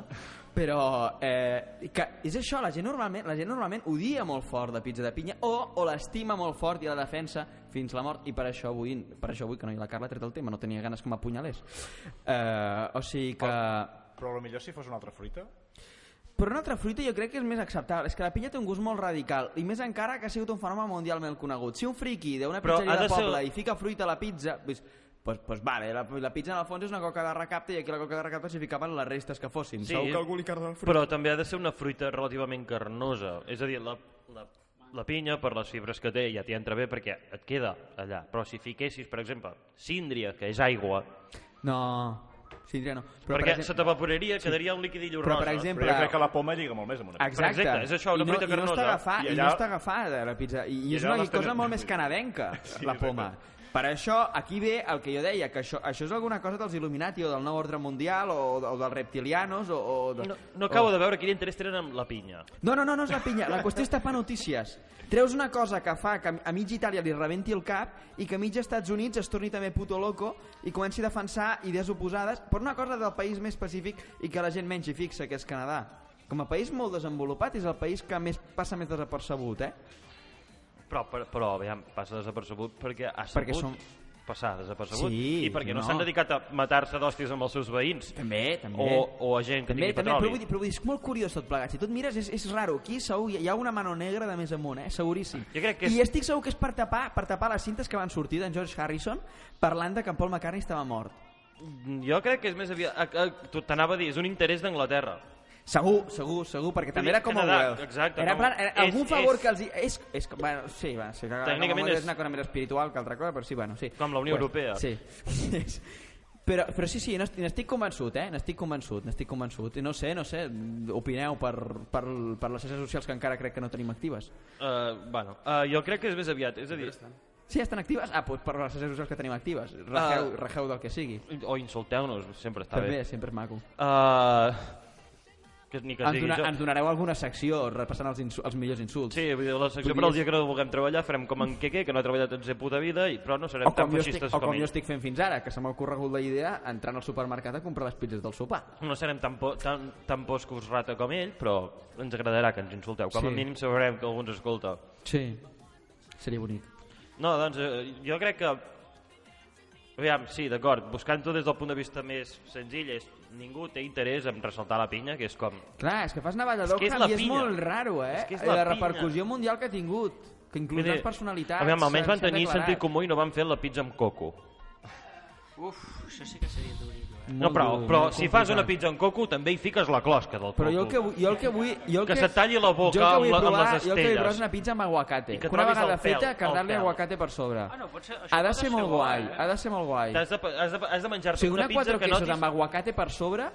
Speaker 3: però eh, que és això, la gent, normalment, la gent normalment odia molt fort de pizza de pinya o, o l'estima molt fort i la defensa fins la mort, i per això avui, per això avui que no hi ha la Carla ha tret el tema, no tenia ganes que m'apunyalés. Eh, o sigui que...
Speaker 4: Però lo millor si fos una altra fruita.
Speaker 3: Però una altra fruita jo crec que és més acceptable. És que la pinya té un gust molt radical, i més encara que ha sigut un fenomen mundialment conegut. Si un friqui d'una
Speaker 1: Però
Speaker 3: pizzeria
Speaker 1: ha
Speaker 3: de
Speaker 1: de ser-
Speaker 3: poble i fica fruita a la pizza... Doncs, pues, pues vale, la, la pizza en el fons és una coca de recapte i aquí la coca de recapte s'hi ficaven les restes que fossin.
Speaker 1: Sí,
Speaker 3: Segur que algú li carda el fruit.
Speaker 1: Però també ha de ser una fruita relativament carnosa. És a dir, la, la, la pinya, per les fibres que té, ja t'hi entra bé perquè et queda allà. Però si fiquessis, per exemple, síndria, que és aigua,
Speaker 3: No, síndria no. Però
Speaker 1: perquè
Speaker 3: per
Speaker 1: se t'evaporaria, quedaria un liquidillo
Speaker 3: Però, per
Speaker 1: rosa.
Speaker 3: exemple-
Speaker 4: Però jo crec que la poma lliga molt més amb una pizza.
Speaker 3: Exacte.
Speaker 1: Exacte, és això, una
Speaker 3: I no,
Speaker 1: fruita
Speaker 3: i no està
Speaker 1: carnosa.
Speaker 3: agafada,
Speaker 4: I
Speaker 3: i,
Speaker 4: allà-
Speaker 3: no està agafada la pizza. I, i és
Speaker 4: allà
Speaker 3: una
Speaker 4: les
Speaker 3: cosa
Speaker 4: tenen-
Speaker 3: molt més canadenca,
Speaker 4: Sí,
Speaker 3: la
Speaker 4: exacte.
Speaker 3: poma. Per això, aquí ve el que jo deia, que això, això és alguna cosa dels Illuminati o del nou ordre mundial o, o dels reptilianos o... o de...
Speaker 1: No, no
Speaker 3: oh.
Speaker 1: acabo de veure quin interès tenen amb la pinya.
Speaker 3: No, no, no, no és la pinya. La qüestió és tapar notícies. Treus una cosa que fa que a mig Itàlia li rebenti el cap i que a mig Estats Units es torni també puto loco i comenci a defensar idees oposades per una cosa del país més pacífic i que la gent menys hi fixa, que és Canadà. Com a país molt desenvolupat, és el país que més passa més desapercebut, eh?
Speaker 1: Però, però, però aviam, passa desapercebut perquè ha sabut
Speaker 3: Perquè som-
Speaker 1: passar desapercebut
Speaker 3: Sí,
Speaker 1: i perquè no,
Speaker 3: no.
Speaker 1: s'han dedicat a matar-se d'hòsties amb els seus veïns.
Speaker 3: També, també.
Speaker 1: O- o a gent que
Speaker 3: també,
Speaker 1: tingui
Speaker 3: també,
Speaker 1: petroli.
Speaker 3: però, vull dir, però vull dir, és molt curiós tot plegat. Si tu et mires, és, és raro. Aquí segur, hi ha una mano negra de més amunt, eh? seguríssim.
Speaker 1: Jo crec que és-
Speaker 3: I estic segur que és per tapar, per tapar les cintes que van sortir d'en George Harrison parlant de que en Paul McCartney estava mort.
Speaker 1: Jo crec que és més aviat... a- a- tu- T'anava a dir, és un interès d'Anglaterra.
Speaker 3: Segur, segur, segur, perquè
Speaker 1: dir,
Speaker 3: també era com a
Speaker 1: Canadà,
Speaker 3: Wells.
Speaker 1: exacte,
Speaker 3: Era en
Speaker 1: com-
Speaker 3: plan, era
Speaker 1: és-
Speaker 3: algun favor
Speaker 1: és-
Speaker 3: que els... hi- És, és, com- bueno, sí, va, sí, que
Speaker 1: Tècnicament
Speaker 3: com a Wells
Speaker 1: és-
Speaker 3: és una cosa més espiritual que altra cosa, però sí, bueno, sí.
Speaker 1: Com la Unió Europea.
Speaker 3: Sí. És- però, però sí, sí, n'est- n'estic convençut, eh? N'estic convençut, n'estic convençut. I no sé, no sé, opineu per, per, per les xarxes socials que encara crec que no tenim actives.
Speaker 1: Uh, bueno, uh, jo crec que és més aviat, és a dir,
Speaker 3: Sí, estan actives? Ah, doncs per les xarxes socials que tenim actives. Regeu,
Speaker 1: Ah.
Speaker 3: regeu del que sigui.
Speaker 1: o insulteu-nos, sempre està
Speaker 3: També,
Speaker 1: bé.
Speaker 3: sempre és maco.
Speaker 1: Uh, que ni que
Speaker 3: Ens,
Speaker 1: sigui
Speaker 3: dona,
Speaker 1: jo.
Speaker 3: ens donareu alguna secció repassant els, insu- els millors insults.
Speaker 1: Sí, vull dir, la secció
Speaker 3: Podries-
Speaker 1: per al dia que no vulguem treballar farem com en Queque, que no ha treballat en ser puta vida, i, però no serem
Speaker 3: o
Speaker 1: tan
Speaker 3: com, jo estic,
Speaker 1: feixistes
Speaker 3: o
Speaker 1: com,
Speaker 3: com jo
Speaker 1: ell.
Speaker 3: estic fent fins ara, que se m'ha ocorregut la idea entrar al supermercat a comprar les pizzas del sopar.
Speaker 1: No serem tan, po tan, tan poscos rata com ell, però ens agradarà que ens insulteu. Com
Speaker 3: Sí.
Speaker 1: a mínim sabrem que algú ens escolta.
Speaker 3: Sí. Seria bonic.
Speaker 1: No, doncs eh, jo crec que... Aviam, sí, d'acord, buscant-ho des del punt de vista més senzill, és ningú té interès en ressaltar la pinya, que és com...
Speaker 3: Clar, és que fas navadador
Speaker 1: És que és
Speaker 3: és
Speaker 1: la
Speaker 3: i és
Speaker 1: pinya.
Speaker 3: molt raro, eh?
Speaker 1: És que és
Speaker 3: la,
Speaker 1: la pinya.
Speaker 3: repercussió mundial que ha tingut, que inclús
Speaker 1: Vull dir,
Speaker 3: les personalitats...
Speaker 1: Aviam, almenys
Speaker 3: s'han-
Speaker 1: van
Speaker 3: s'han
Speaker 1: tenir
Speaker 3: declarat.
Speaker 1: sentit comú i no van fer la pizza amb coco.
Speaker 5: Uf, això sí que seria duríssim. Eh?
Speaker 1: No,
Speaker 3: Molt
Speaker 1: però,
Speaker 3: dur,
Speaker 1: però
Speaker 3: molt
Speaker 1: si fas
Speaker 3: complicat.
Speaker 1: una pizza amb coco, també hi fiques la closca del coco.
Speaker 3: Però jo el que vull... Jo el que, vull jo el
Speaker 1: Que se talli la boca
Speaker 3: jo el que
Speaker 1: amb
Speaker 3: vull
Speaker 1: la- amb
Speaker 3: provar-
Speaker 1: les
Speaker 3: Jo el que vull provar és
Speaker 1: estelles.
Speaker 3: una pizza amb aguacate.
Speaker 1: I que
Speaker 3: una
Speaker 1: trobis
Speaker 3: vegada
Speaker 1: el pèl,
Speaker 3: feta,
Speaker 1: el
Speaker 3: cardar-li
Speaker 1: pèl.
Speaker 3: aguacate per sobre.
Speaker 5: Ah, no, pot ser, això
Speaker 3: ha de
Speaker 5: pot
Speaker 3: ser molt guai,
Speaker 5: eh?
Speaker 3: ha de ser molt guai.
Speaker 1: T'has de, has de, has de
Speaker 3: O
Speaker 1: menjar-te
Speaker 3: sigui, una,
Speaker 1: una pizza
Speaker 3: quatre
Speaker 1: que no...
Speaker 3: quesos amb
Speaker 1: tis-
Speaker 3: aguacate per sobre,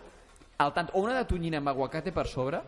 Speaker 3: al tant, o una de tonyina amb aguacate per sobre,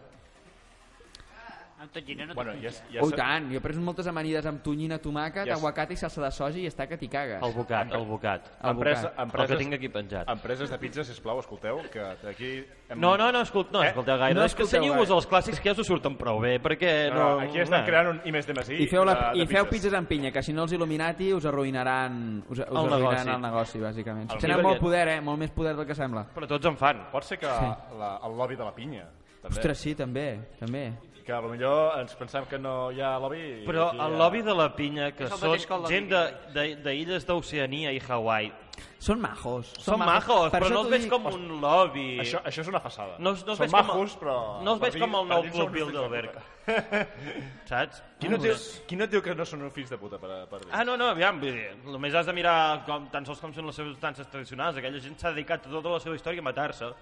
Speaker 5: Amb tot gira eh? no
Speaker 4: Bueno,
Speaker 5: bueno,
Speaker 4: ja,
Speaker 5: ja...
Speaker 4: ja
Speaker 3: oh, i
Speaker 4: s'ha-
Speaker 3: tant, jo he pres moltes amanides amb tonyina, tomàquet,
Speaker 4: Ja sé.
Speaker 3: aguacate i salsa de soja i està que t'hi cagues.
Speaker 1: El bocat, el bocat.
Speaker 3: El
Speaker 4: Empresa,
Speaker 3: bocat.
Speaker 1: El que
Speaker 4: empreses,
Speaker 1: tinc aquí penjat.
Speaker 4: empreses de pizza, sisplau, escolteu, que aquí... Hem...
Speaker 1: No, no, no, escolt, no,
Speaker 4: Eh?
Speaker 1: escolteu gaire.
Speaker 3: No
Speaker 1: No és que
Speaker 3: escolteu
Speaker 1: cenyeu-vos
Speaker 3: gaire.
Speaker 1: als clàssics que ja us ho surten prou bé, perquè...
Speaker 4: No,
Speaker 1: No,
Speaker 4: no, aquí estan
Speaker 1: no.
Speaker 4: creant un I més de Masí eh,
Speaker 3: I feu, la,
Speaker 4: de,
Speaker 3: i
Speaker 4: de
Speaker 3: feu pizzas amb pinya, que si no els Illuminati us arruïnaran, us, us el, arruïnaran
Speaker 1: negoci.
Speaker 3: negoci. el negoci, bàsicament.
Speaker 4: El
Speaker 3: Tenen
Speaker 1: River
Speaker 3: molt
Speaker 1: Jet.
Speaker 3: poder, eh? Molt més poder del que sembla.
Speaker 1: Però tots en fan.
Speaker 4: Pot ser que
Speaker 3: Sí.
Speaker 4: la, el lobby de la pinya, també.
Speaker 3: Ostres, sí, també, també.
Speaker 4: Que a lo millor ens pensem que no hi ha lobby... i
Speaker 1: Però
Speaker 4: aquí hi
Speaker 1: el
Speaker 4: ha-
Speaker 1: lobby de la pinya, que
Speaker 5: És el
Speaker 1: són
Speaker 5: mateix que el lobby
Speaker 1: gent
Speaker 5: de-
Speaker 1: d'illes d'Oceania i Hawaii,
Speaker 3: Són majos.
Speaker 1: Són majos,
Speaker 3: Per
Speaker 1: però
Speaker 3: això
Speaker 1: no
Speaker 3: t'ho
Speaker 1: els veig
Speaker 3: dic.
Speaker 1: com un lobby.
Speaker 4: Això, això és una façada.
Speaker 1: No, els- no els
Speaker 4: Són
Speaker 1: veig com a-
Speaker 4: majos, però...
Speaker 1: no els
Speaker 4: per
Speaker 1: veig com el
Speaker 4: dins-
Speaker 1: nou
Speaker 4: per dins
Speaker 1: Club
Speaker 4: són uns fills de
Speaker 1: Bilderberg.
Speaker 4: puta.
Speaker 1: Saps?
Speaker 4: Qui no, diu, qui no et diu que no són uns fills de puta per, per dir?
Speaker 1: Ah, no, no, aviam, vull dir, només has de mirar com, tan sols com són les substàncies tradicionals. Aquella gent s'ha dedicat tota la seva història a matar-se.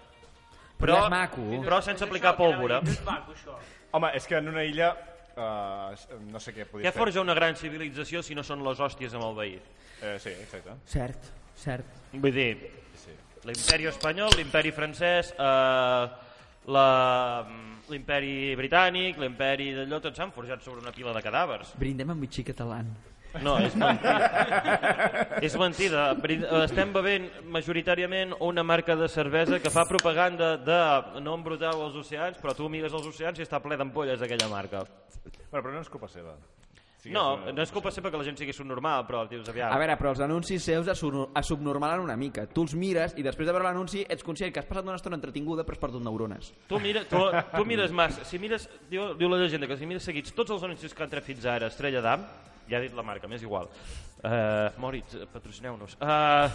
Speaker 3: Però és maco.
Speaker 1: Però sense aplicar pólvora.
Speaker 5: És maco, això.
Speaker 4: Home, és que en una illa... Uh, no sé què podia
Speaker 1: Què forja una gran civilització si no són les hòsties amb el veí?
Speaker 4: Eh, sí, exacte.
Speaker 3: Cert, cert.
Speaker 1: Vull dir, l'imperi espanyol, l'imperi francès, eh, la- mm, l'imperi britànic, l'imperi d'allò, tots s'han forjat sobre una pila de cadàvers.
Speaker 3: Brindem amb bitxí català.
Speaker 1: No, és mentida. és mentida. Brin- eh, Estem bevent majoritàriament una marca de cervesa que fa propaganda de no embruteu els oceans, però tu mires els oceans i està ple d'ampolles d'aquella marca.
Speaker 4: Bueno, però no és culpa seva. Sí que
Speaker 1: No, eh.
Speaker 4: és una-
Speaker 1: no és culpa seva que la gent sigui subnormal, però dius aviam.
Speaker 3: A veure, però els anuncis seus es sur- es subnormalen una mica. Tu els mires i després de veure l'anunci ets conscient que has passat una estona entretinguda però has perdut neurones.
Speaker 1: Tu, mira, tu, tu mires massa. Si mires, diu, diu la llegenda que si mires seguits tots els anuncis que han tret fins ara Estrella d'Am, ja he dit la marca, m'és igual. Uh, Moritz, eh, patrocineu-nos. Uh,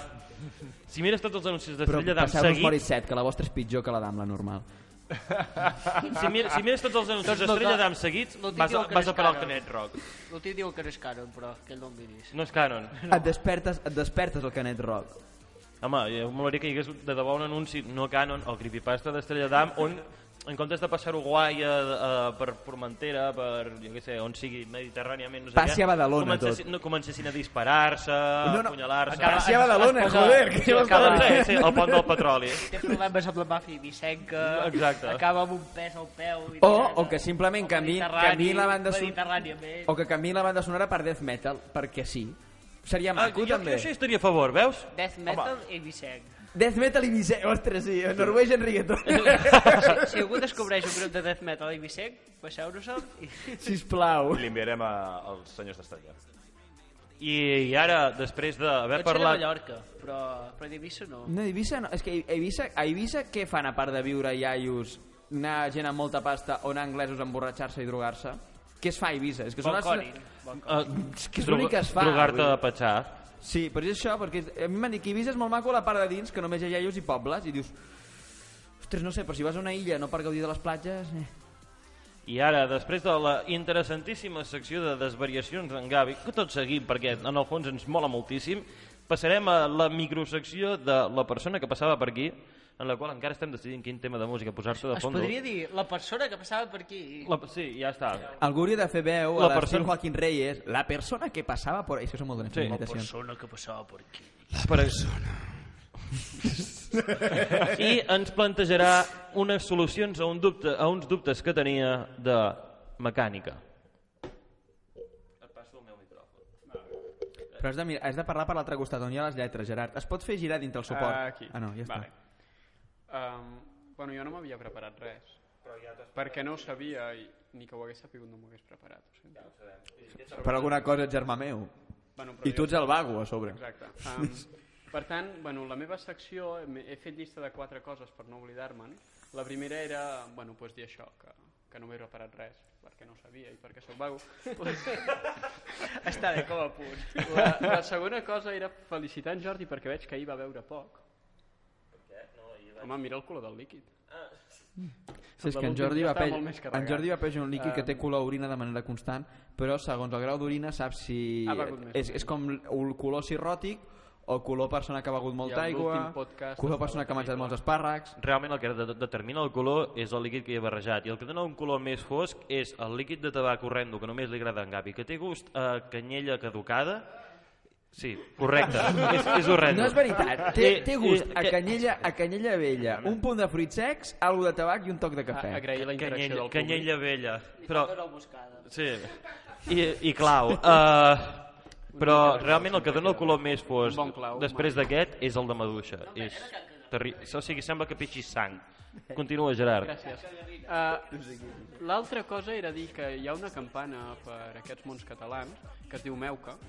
Speaker 1: si mires tots els anuncis
Speaker 3: Però
Speaker 1: d'Estrella d'Am
Speaker 3: passeu-vos Moritz
Speaker 1: seguits...
Speaker 3: 7, que la vostra és pitjor que la d'Amla normal.
Speaker 1: Si, mires, si mires tots els anuncis
Speaker 5: No, no,
Speaker 1: d'Estrella
Speaker 5: no.
Speaker 1: d'Am seguits,
Speaker 5: No t'hi
Speaker 1: vas, a,
Speaker 5: diuen que
Speaker 1: vas a
Speaker 5: eres
Speaker 1: parar al
Speaker 5: cara.
Speaker 1: Canet Rock.
Speaker 5: No t'hi diuen que no és caro, però que no em miris.
Speaker 1: No és canon.
Speaker 3: Et despertes, et despertes el Canet Rock.
Speaker 1: Home, jo m'agradaria que hi hagués de debò un anunci no canon, el creepypasta d'Estrella d'Am, on en comptes de passar-ho guai a, a, per Formentera, per, jo què sé, on sigui, mediterràniament, no sé
Speaker 3: Passi
Speaker 1: què,
Speaker 3: a Badalona,
Speaker 1: comencessin,
Speaker 3: tot.
Speaker 1: No, comencessin a disparar-se,
Speaker 3: No,
Speaker 1: no,
Speaker 3: no.
Speaker 1: no. apunyalar-se...
Speaker 5: Ah,
Speaker 3: Passi a Badalona,
Speaker 5: es posa-
Speaker 3: joder, que
Speaker 5: sí,
Speaker 3: jo
Speaker 5: acaba-
Speaker 1: Doncs res, sí, el pont del petroli.
Speaker 5: Té problemes amb la màfia vicenca,
Speaker 1: Exacte.
Speaker 5: acaba amb un pes al peu... I
Speaker 3: O,
Speaker 5: tirant
Speaker 3: o que simplement
Speaker 5: al
Speaker 3: canviïn
Speaker 5: Mediterrani,
Speaker 3: canviïn la banda sonora...
Speaker 5: Mediterràniament.
Speaker 3: O que canviïn la banda sonora per death metal, perquè sí. Seria
Speaker 1: Ah,
Speaker 3: maco,
Speaker 1: jo, jo
Speaker 3: també.
Speaker 1: això hi estaria a favor, veus?
Speaker 5: Death metal i vicenc.
Speaker 3: Death metal i Vicent... Ostres, sí, Norwegian reggaeton.
Speaker 5: si, si algú descobreix un grup de death metal i vicenc, passeu-nos-el i...
Speaker 3: Sisplau.
Speaker 4: I li enviarem a, als senyors d'Estella.
Speaker 1: I, i ara, després d'haver
Speaker 5: Potser de
Speaker 1: parlat...
Speaker 5: Mallorca, però, però d'Eivissa no.
Speaker 3: No, a Eivissa no. És que a Eivissa, a Eivissa què fan a part de viure iaios, anar gent amb molta pasta o anar anglesos a emborratxar-se i drogar-se? Què es fa a Eivissa? És que són
Speaker 5: Balcònic.
Speaker 3: les...
Speaker 1: Uh,
Speaker 3: És que és l'únic que es fa.
Speaker 1: Drogar-te
Speaker 3: vull
Speaker 1: de
Speaker 3: dir.
Speaker 1: petxar.
Speaker 3: Sí, però és això, perquè a mi m'han dit que Eivissa és molt maco la part de dins, que només hi ha iaios i pobles, i dius... Ostres, no sé, però si vas a una illa no per gaudir de les platges... Eh.
Speaker 1: I ara, després de la interessantíssima secció de desvariacions d'en Gavi, que tot seguim, perquè en el fons ens mola moltíssim, passarem a la microsecció de la persona que passava per aquí, en la qual encara estem decidint quin tema de música posar-se de
Speaker 5: Es
Speaker 1: fons.
Speaker 5: podria dir la persona que passava per aquí... i-
Speaker 1: La... Sí, ja està.
Speaker 3: Algú hauria de fer veu
Speaker 1: La
Speaker 3: a l'estil
Speaker 1: persona-
Speaker 3: Joaquín Reyes, la persona que passava por... És que són molt dones
Speaker 1: Sí.
Speaker 3: sí. imitacions.
Speaker 5: persona que passava per aquí.
Speaker 1: Per... I ens plantejarà unes solucions a, un dubte, a uns dubtes que tenia de mecànica.
Speaker 3: Però has de, mirar, has de parlar per l'altre costat, on hi ha les lletres, Gerard. Es pot fer girar dintre el suport?
Speaker 7: Ah, aquí.
Speaker 3: Ah, no, ja està.
Speaker 7: Vale. Um, bueno, jo no m'havia preparat res. Perquè no ho sabia i ni que ho hagués sapigut no m'ho hagués preparat. Ho sento.
Speaker 3: Per alguna cosa ets germà meu.
Speaker 7: Bueno, però
Speaker 3: I tu ets el vago, a sobre.
Speaker 7: Exacte. Um, per tant, bueno, la meva secció, he he fet llista de quatre coses per no oblidar-me'n. La primera era, bueno, pues dir això, que, que no m'he preparat res, perquè no ho sabia i perquè sóc vago.
Speaker 5: Està bé, com a punt.
Speaker 7: La, la segona cosa era felicitar en Jordi perquè veig que ahir va beure poc. Home, mira el color del líquid.
Speaker 3: Sí, és que en
Speaker 7: L'últim
Speaker 3: Jordi,
Speaker 7: dia
Speaker 3: va
Speaker 7: estava
Speaker 3: pe...
Speaker 7: molt més carregat.
Speaker 3: en Jordi va pejar un líquid que té
Speaker 7: Em,
Speaker 3: color orina de manera constant, però segons el grau d'orina saps si...
Speaker 7: Ha begut més
Speaker 3: és, és com el color cirròtic o color persona que ha begut
Speaker 7: I
Speaker 3: molta
Speaker 7: en
Speaker 3: aigua,
Speaker 7: l'últim podcast
Speaker 3: color
Speaker 7: estava
Speaker 3: persona que ha menjat
Speaker 7: terrible.
Speaker 3: molts espàrrecs...
Speaker 1: Realment el que de- determina el color és el líquid que hi ha barrejat i el que dona un color més fosc és el líquid de tabac horrendo que només li agrada a en Gavi, que té gust a canyella caducada. Sí, correcte, és, és horrendo.
Speaker 3: No és veritat, té,
Speaker 1: Eh,
Speaker 3: té gust
Speaker 1: eh,
Speaker 3: a
Speaker 1: que-
Speaker 3: canyella, a canyella vella, un punt de fruits secs, algo de tabac i un toc de
Speaker 7: A,
Speaker 3: cafè.
Speaker 7: agrair la interacció
Speaker 1: Canyella,
Speaker 7: del públic.
Speaker 1: canyella vella. Però,
Speaker 5: Era buscada.
Speaker 1: Sí, i, i clau. Uh, però realment el que dona el color més fosc
Speaker 7: Un bon clau,
Speaker 1: després d'aquest és el de maduixa. És terri... O sigui, sembla que pixis sang. Continua, Gerard.
Speaker 7: Gràcies. Uh, L'altra cosa era dir que hi ha una campana per aquests mons catalans que es diu Meuca.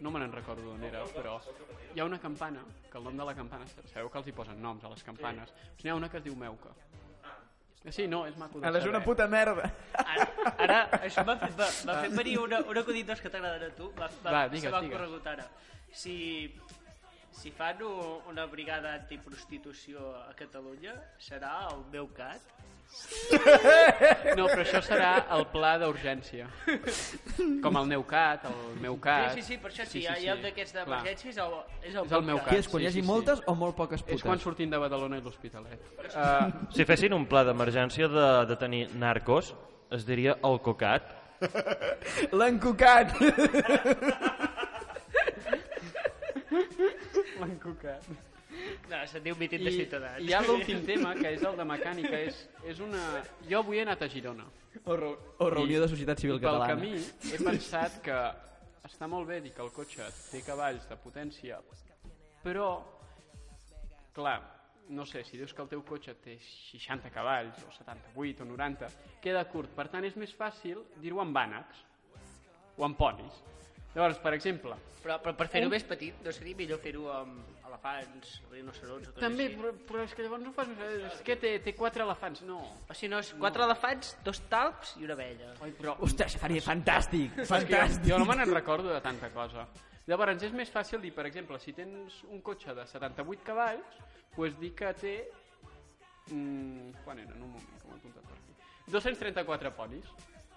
Speaker 7: No me n'en recordo d'on era, però hi ha una campana, que el nom de la campana, sabeu que els hi posen noms a les campanes, doncs n'hi ha una que es diu Meuca. Ah, Sí, no, és maco de
Speaker 3: Ara Ah, és una
Speaker 7: saber.
Speaker 3: puta merda.
Speaker 5: Ara, ara això m'ha fet, va, m'ha fet venir una, una acudit dels que t'agradarà a tu. Va, va,
Speaker 7: Va,
Speaker 5: se
Speaker 7: digues,
Speaker 5: m'ha
Speaker 7: digues.
Speaker 5: corregut ara. Si si fan u- una brigada antiprostitució a Catalunya, serà el meu cat?
Speaker 7: No, però això serà el pla d'urgència. Com el Neucat, el meu cat...
Speaker 5: Sí, sí, sí, per això sí, hi ha, hi ha un d'aquests
Speaker 7: Clar.
Speaker 5: d'emergències, el, és el,
Speaker 7: És el meu
Speaker 3: Què
Speaker 7: cat.
Speaker 3: és, quan
Speaker 7: sí,
Speaker 3: hi hagi
Speaker 7: sí, sí.
Speaker 3: moltes o molt poques putes?
Speaker 7: És quan sortim de Badalona i l'Hospitalet. Uh,
Speaker 1: Si fessin un pla d'emergència de, de tenir narcos, es diria el cocat.
Speaker 6: L'han cucat!
Speaker 5: No, se'n diu mitit de
Speaker 7: I
Speaker 5: ciutadans.
Speaker 7: hi ha l'últim tema, que és el de mecànica. És, és una... Jo avui he anat a Girona.
Speaker 3: O, reu- o reunió de societat civil
Speaker 7: I pel
Speaker 3: catalana.
Speaker 7: camí he pensat que està molt bé dir que el cotxe té cavalls de potència, però, clar, no sé, si dius que el teu cotxe té 60 cavalls, o 78, o 90, queda curt. Per tant, és més fàcil dir-ho amb ànecs o amb ponis. Llavors, per exemple,
Speaker 5: Però, però per fer-ho més petit, no seria millor fer-ho amb elefants, rinocerons o coses
Speaker 7: també,
Speaker 5: així?
Speaker 7: però, però és que llavors no fas... És que té, té quatre elefants, no.
Speaker 5: O si no, és quatre elefants, dos talps i una abella.
Speaker 7: Ai, però
Speaker 6: Ostres, faria fantàstic!
Speaker 7: És que
Speaker 6: Fantàstic!
Speaker 7: jo, jo no me n'en recordo de tanta cosa. Llavors, és més fàcil dir, per exemple, si tens un cotxe de 78 cavalls, doncs dir que té... Mm, quan eren? Un moment, com he apuntat per aquí. 234 ponis.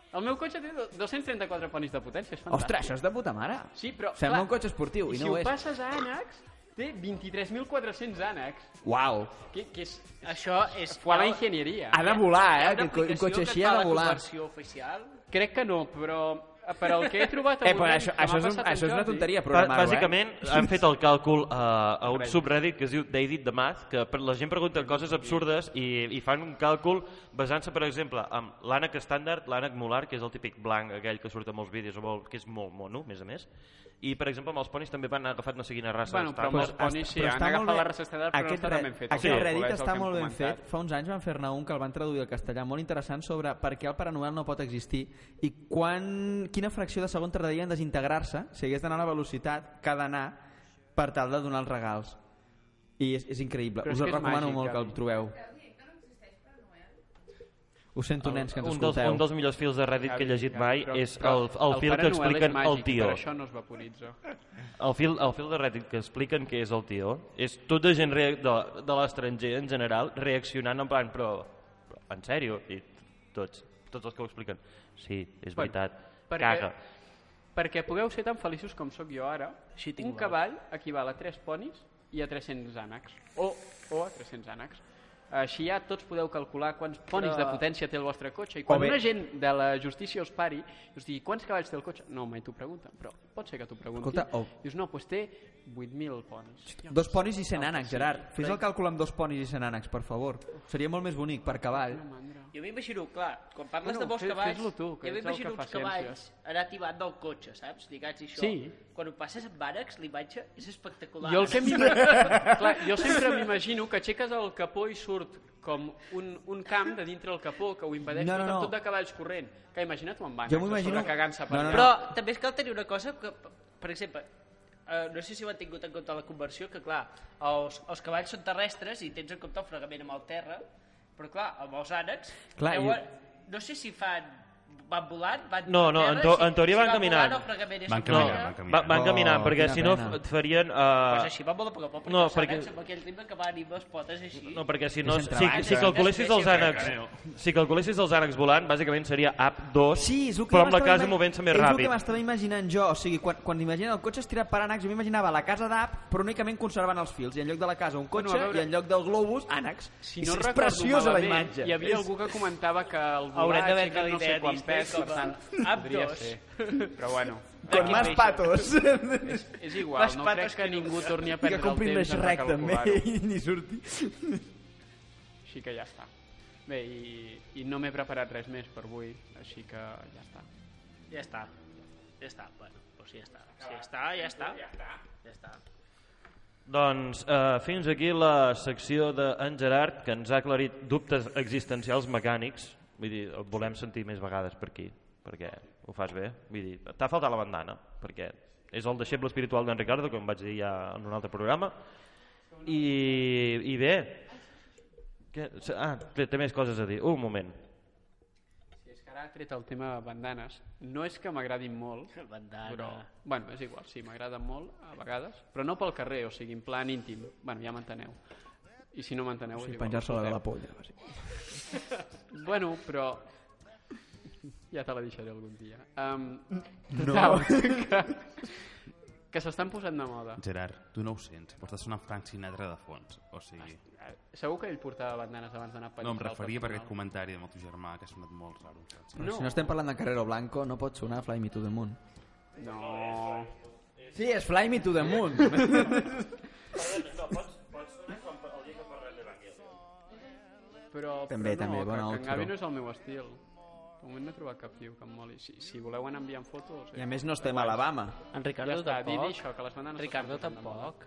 Speaker 7: El meu cotxe té do- 234 ponis de potència, és fantàstic.
Speaker 6: Ostres, això és de puta mare!
Speaker 7: Sí, però,
Speaker 6: Sembla
Speaker 7: clar,
Speaker 6: un cotxe esportiu, i
Speaker 7: I si
Speaker 6: no ho
Speaker 7: ho
Speaker 6: és.
Speaker 7: passes a ànecs, té 23.400 ànecs,
Speaker 6: Uau!
Speaker 7: que, que és...
Speaker 5: Això és...
Speaker 7: Fua la enginyeria.
Speaker 6: Ha de volar, eh?
Speaker 5: Hi ha una
Speaker 6: Aquest co- un
Speaker 5: aplicació
Speaker 6: cotxe
Speaker 5: que
Speaker 6: així
Speaker 5: et fa
Speaker 6: ha de
Speaker 5: la
Speaker 6: volar.
Speaker 5: conversió oficial.
Speaker 7: Crec que no, però... Per el que he trobat...
Speaker 6: Eh, però
Speaker 7: avui,
Speaker 6: això,
Speaker 7: que m'ha
Speaker 6: això, és, un,
Speaker 7: passat en
Speaker 6: això és una
Speaker 7: Jordi,
Speaker 6: tonteria
Speaker 1: Ba-
Speaker 6: programar-ho, eh?
Speaker 1: Bàsicament, han fet el càlcul a, a un subreddit que es diu They Did the Math, que per- la gent pregunta coses absurdes i, i fan un càlcul basant-se, per exemple, amb l'ànec estàndard, l'ànec molar, que és el típic blanc aquell que surt a molts vídeos, o molt, que és molt mono, a més a més, i, per exemple, amb els ponis també van agafar no sé quina raça.
Speaker 7: Bueno, però amb
Speaker 1: d'estàndard.
Speaker 7: els ponis sí,
Speaker 3: Però
Speaker 7: han
Speaker 3: està molt
Speaker 7: agafat
Speaker 3: bé.
Speaker 7: la raça estàndard, però no
Speaker 6: Aquest
Speaker 7: està
Speaker 6: re-
Speaker 7: tan ben fet.
Speaker 6: Aquest
Speaker 7: Sí,
Speaker 6: Reddit
Speaker 7: és el
Speaker 6: està
Speaker 7: que hem
Speaker 6: molt ben
Speaker 7: comentat.
Speaker 6: fet. Fa uns anys van fer-ne un que el van traduir al castellà, molt interessant, sobre per què el Pare Noel no pot existir i quan, quina fracció de segon tardaria en desintegrar-se si hagués d'anar a la velocitat que ha d'anar per tal de donar els regals. I és, és increïble.
Speaker 7: Però és
Speaker 6: Us el
Speaker 7: que és
Speaker 6: recomano
Speaker 7: màgic,
Speaker 6: molt que el
Speaker 7: Gavi.
Speaker 6: trobeu. Ho sento, nens, que ens
Speaker 1: un dels,
Speaker 6: escolteu.
Speaker 1: un dels millors fils de Reddit que he llegit mai
Speaker 7: Però-
Speaker 1: és
Speaker 7: però
Speaker 1: el, el fil
Speaker 7: Pare
Speaker 1: que
Speaker 7: Noel és
Speaker 1: expliquen el
Speaker 7: màgic, i
Speaker 1: tio.
Speaker 7: Per això no es vaporitza.
Speaker 1: El fil, el fil de Reddit que expliquen que és el tio és tota gent rea- de, de l'estranger en general reaccionant en plan però, però en sèrio? I tots, tots els que ho expliquen. Sí, és
Speaker 7: Bueno,
Speaker 1: veritat.
Speaker 7: perquè-
Speaker 1: Caga.
Speaker 7: Perquè pugueu ser tan feliços com sóc jo ara, si tinc un cavall equival a 3 ponis i a 300 ànecs. O, o a 300 ànecs. Així ja tots podeu calcular quants ponis de potència té el vostre cotxe. I quan
Speaker 6: bé-
Speaker 7: una gent de la justícia us pari, us digui quants cavalls té el cotxe, no, mai t'ho pregunten, però pot ser que t'ho preguntin.
Speaker 6: Escolta, o-
Speaker 7: Dius, no, doncs té 8.000 ponis.
Speaker 6: Dos ponis i cent ànecs, Gerard. Fes el càlcul amb dos ponis i cent ànecs, per favor. Seria molt més bonic, per cavall.
Speaker 5: Jo m'imagino, clar, quan parles
Speaker 7: Bueno,
Speaker 5: de molts
Speaker 7: fes-
Speaker 5: cavalls,
Speaker 7: fes-lo tu, que
Speaker 5: jo
Speaker 7: ets el
Speaker 5: m'imagino
Speaker 7: que fa
Speaker 5: uns cavalls
Speaker 7: ciències.
Speaker 5: anar tibant del cotxe, saps? Lligats i això.
Speaker 7: Sí.
Speaker 5: Quan ho passes amb ànecs, l'imatge és espectacular.
Speaker 7: Jo, el que em... Clar, jo sempre m'imagino que aixeques el capó i surt com un, un camp de dintre el capó que ho impedeix
Speaker 6: No,
Speaker 7: no,
Speaker 6: no,
Speaker 7: no,
Speaker 6: no.
Speaker 7: tot de cavalls corrent. Que imagina't on van.
Speaker 6: Jo m'ho imagino-
Speaker 7: Cagant-se per
Speaker 6: No, no,
Speaker 7: allà.
Speaker 5: Però també és cal tenir una cosa que, per exemple, eh, no sé si ho han tingut en compte la conversió, que clar, els, els cavalls són terrestres i tens en compte el fregament amb el terra, però clar, amb els ànecs,
Speaker 6: Clar, i-
Speaker 5: deuen- no sé si fan van volant, van
Speaker 1: No, no,
Speaker 5: per
Speaker 1: en
Speaker 5: terra,
Speaker 1: to-
Speaker 5: si-
Speaker 1: en teoria
Speaker 5: si
Speaker 1: van
Speaker 5: volant,
Speaker 1: caminant.
Speaker 5: el fregament és
Speaker 2: Van
Speaker 5: amb
Speaker 1: No,
Speaker 2: caminant,
Speaker 5: terra.
Speaker 2: van
Speaker 1: va, van
Speaker 6: Oh,
Speaker 1: caminant, perquè
Speaker 6: quina
Speaker 1: si no
Speaker 6: pena.
Speaker 1: f- farien...
Speaker 5: Pues
Speaker 1: Uh,
Speaker 5: així va molt a poc a poc, perquè
Speaker 1: No,
Speaker 5: no, els
Speaker 1: perquè-
Speaker 5: ànecs amb aquell ritme que van amb les potes així.
Speaker 1: no, perquè si no...
Speaker 6: Deixa'm
Speaker 1: Si,
Speaker 6: treballar.
Speaker 1: si calculessis els ànecs... Si calculessis els ànecs volant, bàsicament seria up 2,
Speaker 6: Sí, és el que
Speaker 1: però amb la
Speaker 6: m'estava
Speaker 1: casa
Speaker 6: ima-
Speaker 1: movent-se més
Speaker 6: és
Speaker 1: ràpid.
Speaker 6: És el que m'estava imaginant jo. O sigui, quan, quan imagina el cotxe estirat per ànecs, jo m'imaginava la casa d'App, però únicament conservant els fils. I en lloc de la casa, un cotxe,
Speaker 7: Bueno, a veure-
Speaker 6: i en lloc del globus, ànecs.
Speaker 7: si
Speaker 6: és,
Speaker 7: no
Speaker 6: és
Speaker 7: recordo
Speaker 6: preciosa la
Speaker 7: malament,
Speaker 6: imatge.
Speaker 7: Hi havia
Speaker 6: És-
Speaker 7: algú que comentava que el
Speaker 5: Haurem
Speaker 7: volatge,
Speaker 5: d'haver
Speaker 7: que no sé
Speaker 5: idea
Speaker 7: quan
Speaker 5: d'Einstein
Speaker 7: pes, per
Speaker 5: com a-
Speaker 7: tant,
Speaker 5: Ab
Speaker 7: podria
Speaker 5: dos.
Speaker 7: ser. Però bueno,
Speaker 6: Con más patos.
Speaker 7: és igual,
Speaker 5: Les
Speaker 7: no
Speaker 5: pates
Speaker 7: crec que ningú torni a
Speaker 6: I que
Speaker 7: perdre el
Speaker 6: comprin la
Speaker 7: temps en
Speaker 6: Shrek, també,
Speaker 7: recalcular-ho.
Speaker 6: i ni surti.
Speaker 7: Així que ja està. Bé, i, i no m'he preparat res més per avui, així que ja està.
Speaker 5: Ja està. Ja està, bueno, doncs ja està. Si ja està, ja està. Ja està. Ja està.
Speaker 1: Doncs eh, fins aquí la secció d'en Gerard, que ens ha aclarit dubtes existencials mecànics. Vull dir, et volem sentir més vegades per aquí, perquè ho fas bé. Vull dir, t'ha faltat la bandana, perquè és el deixeble espiritual d'en Ricardo, com vaig dir ja en un altre programa. I, i bé, que, ah, té, té més coses a dir. Un moment.
Speaker 7: Si és que ara ara ha tret el tema de bandanes. No és que m'agradin molt,
Speaker 5: Bandana.
Speaker 7: però... Bueno, és igual, sí, m'agrada molt, a vegades, però no pel carrer, o sigui, en plan íntim. Bueno, ja m'enteneu. I si no m'enteneu...
Speaker 6: O
Speaker 7: és
Speaker 6: sigui,
Speaker 7: igual,
Speaker 6: penjar-se-la de la
Speaker 7: escolteu.
Speaker 6: polla. bàsic.
Speaker 7: Bueno, però... Ja te la deixaré algun dia. Um,
Speaker 6: No.
Speaker 7: total, que, que s'estan posant de moda.
Speaker 2: Gerard, tu no ho sents, però està sonant Frank Sinatra de fons. O sigui,
Speaker 7: Segur que ell portava bandanes abans d'anar a París.
Speaker 2: no em
Speaker 7: al
Speaker 2: referia per aquest
Speaker 7: personal.
Speaker 2: comentari amb el teu germà, que ha sonat molt raro. em sembla.
Speaker 6: Però
Speaker 7: No.
Speaker 6: si no estem parlant de Carrero Blanco, no pot sonar Fly Me to the Moon.
Speaker 7: No.
Speaker 6: Sí, és Fly Me to the Moon.
Speaker 7: Però,
Speaker 6: També,
Speaker 7: però no,
Speaker 6: també, bona
Speaker 7: que, que en
Speaker 6: outro.
Speaker 7: Gavi no és el meu estil. De moment no he trobat cap tio que em moli. Si, si voleu anar enviant fotos... eh.
Speaker 6: I a més no estem a Alabama.
Speaker 5: En
Speaker 7: ja
Speaker 5: Ricardo
Speaker 7: està, dir
Speaker 5: tampoc.
Speaker 7: això, que les bandanes...
Speaker 5: Ricardo
Speaker 7: s'estan posant de moda.
Speaker 5: tampoc.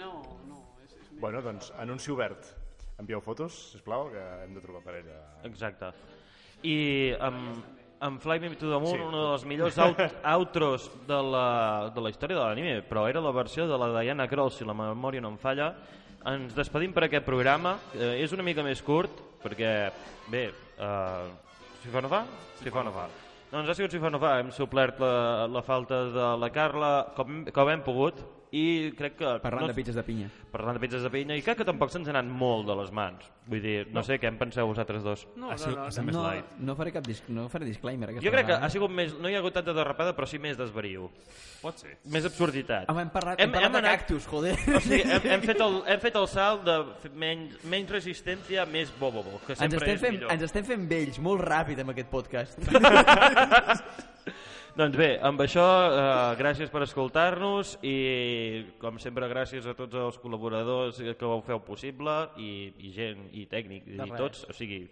Speaker 7: No, no, és, és més...
Speaker 4: Bueno, doncs, anunci obert. Envieu fotos, sisplau, que hem de trobar parella.
Speaker 1: Exacte. I amb, amb Fly Me to the Moon,
Speaker 4: Sí.
Speaker 1: sí. una de les millors out, outros de la, de la història de l'anime, però era la versió de la Diana Cross, si la memòria no em falla. Ens despedim per aquest programa. Eh, és una mica més curt, perquè, bé, eh, si fa no fa, si fa no fa. Doncs ha sigut si fa no fa. Hem suplert la, la falta de la Carla com, com hem pogut i crec que...
Speaker 6: Parlant
Speaker 1: no,
Speaker 6: de pizzas de pinya.
Speaker 1: Parlant de pizzas de pinya i crec que tampoc se'ns ha anat molt de les mans. Vull dir, no, no sé què en penseu vosaltres dos.
Speaker 7: No,
Speaker 2: Ha
Speaker 7: no,
Speaker 2: sigut-
Speaker 7: no,
Speaker 2: ha
Speaker 7: no.
Speaker 2: estat més
Speaker 6: no,
Speaker 2: light.
Speaker 6: no faré cap dis no faré disclaimer. aquesta
Speaker 1: Jo crec que
Speaker 6: vegada.
Speaker 1: ha sigut més, no hi ha hagut tanta derrapada, però sí més desvario.
Speaker 2: Pot ser.
Speaker 1: Més absurditat.
Speaker 6: Home, hem parlat, hem, parlat de
Speaker 1: anat-
Speaker 6: cactus, joder.
Speaker 1: O sigui, hem, hem, fet el, hem fet el salt de f- menys, menys resistència, més bobobo, que
Speaker 6: ens,
Speaker 1: sempre
Speaker 6: estem
Speaker 1: és
Speaker 6: fent,
Speaker 1: millor.
Speaker 6: ens estem fent vells molt ràpid amb aquest podcast.
Speaker 1: Doncs bé, amb això, eh, gràcies per escoltar-nos i, com sempre, gràcies a tots els col·laboradors que ho feu possible i, i gent, i tècnic, i
Speaker 5: res.
Speaker 1: tots, o sigui,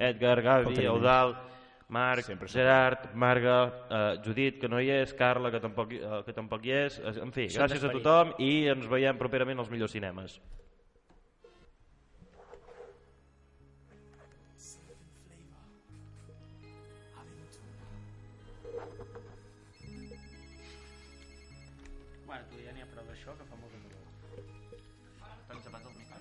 Speaker 1: Edgar, Gavi,
Speaker 6: Faltaria
Speaker 1: Eudal, Marc,
Speaker 4: Sempre, sempre.
Speaker 1: Gerard, Marga, eh, Judit, que no hi és, Carla, que tampoc, hi- eh, que tampoc hi és, eh, en fi,
Speaker 5: Són
Speaker 1: gràcies a
Speaker 5: d'esperit.
Speaker 1: tothom i ens veiem properament als millors cinemes.
Speaker 5: Bueno, tu ja n'hi ha prou d'això, que fa molt de dolor. Doncs abans del micro.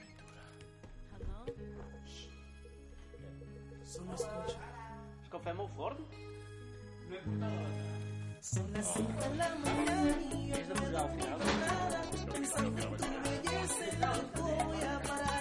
Speaker 5: És que ho fem al forn? No he portat la És de posar al final.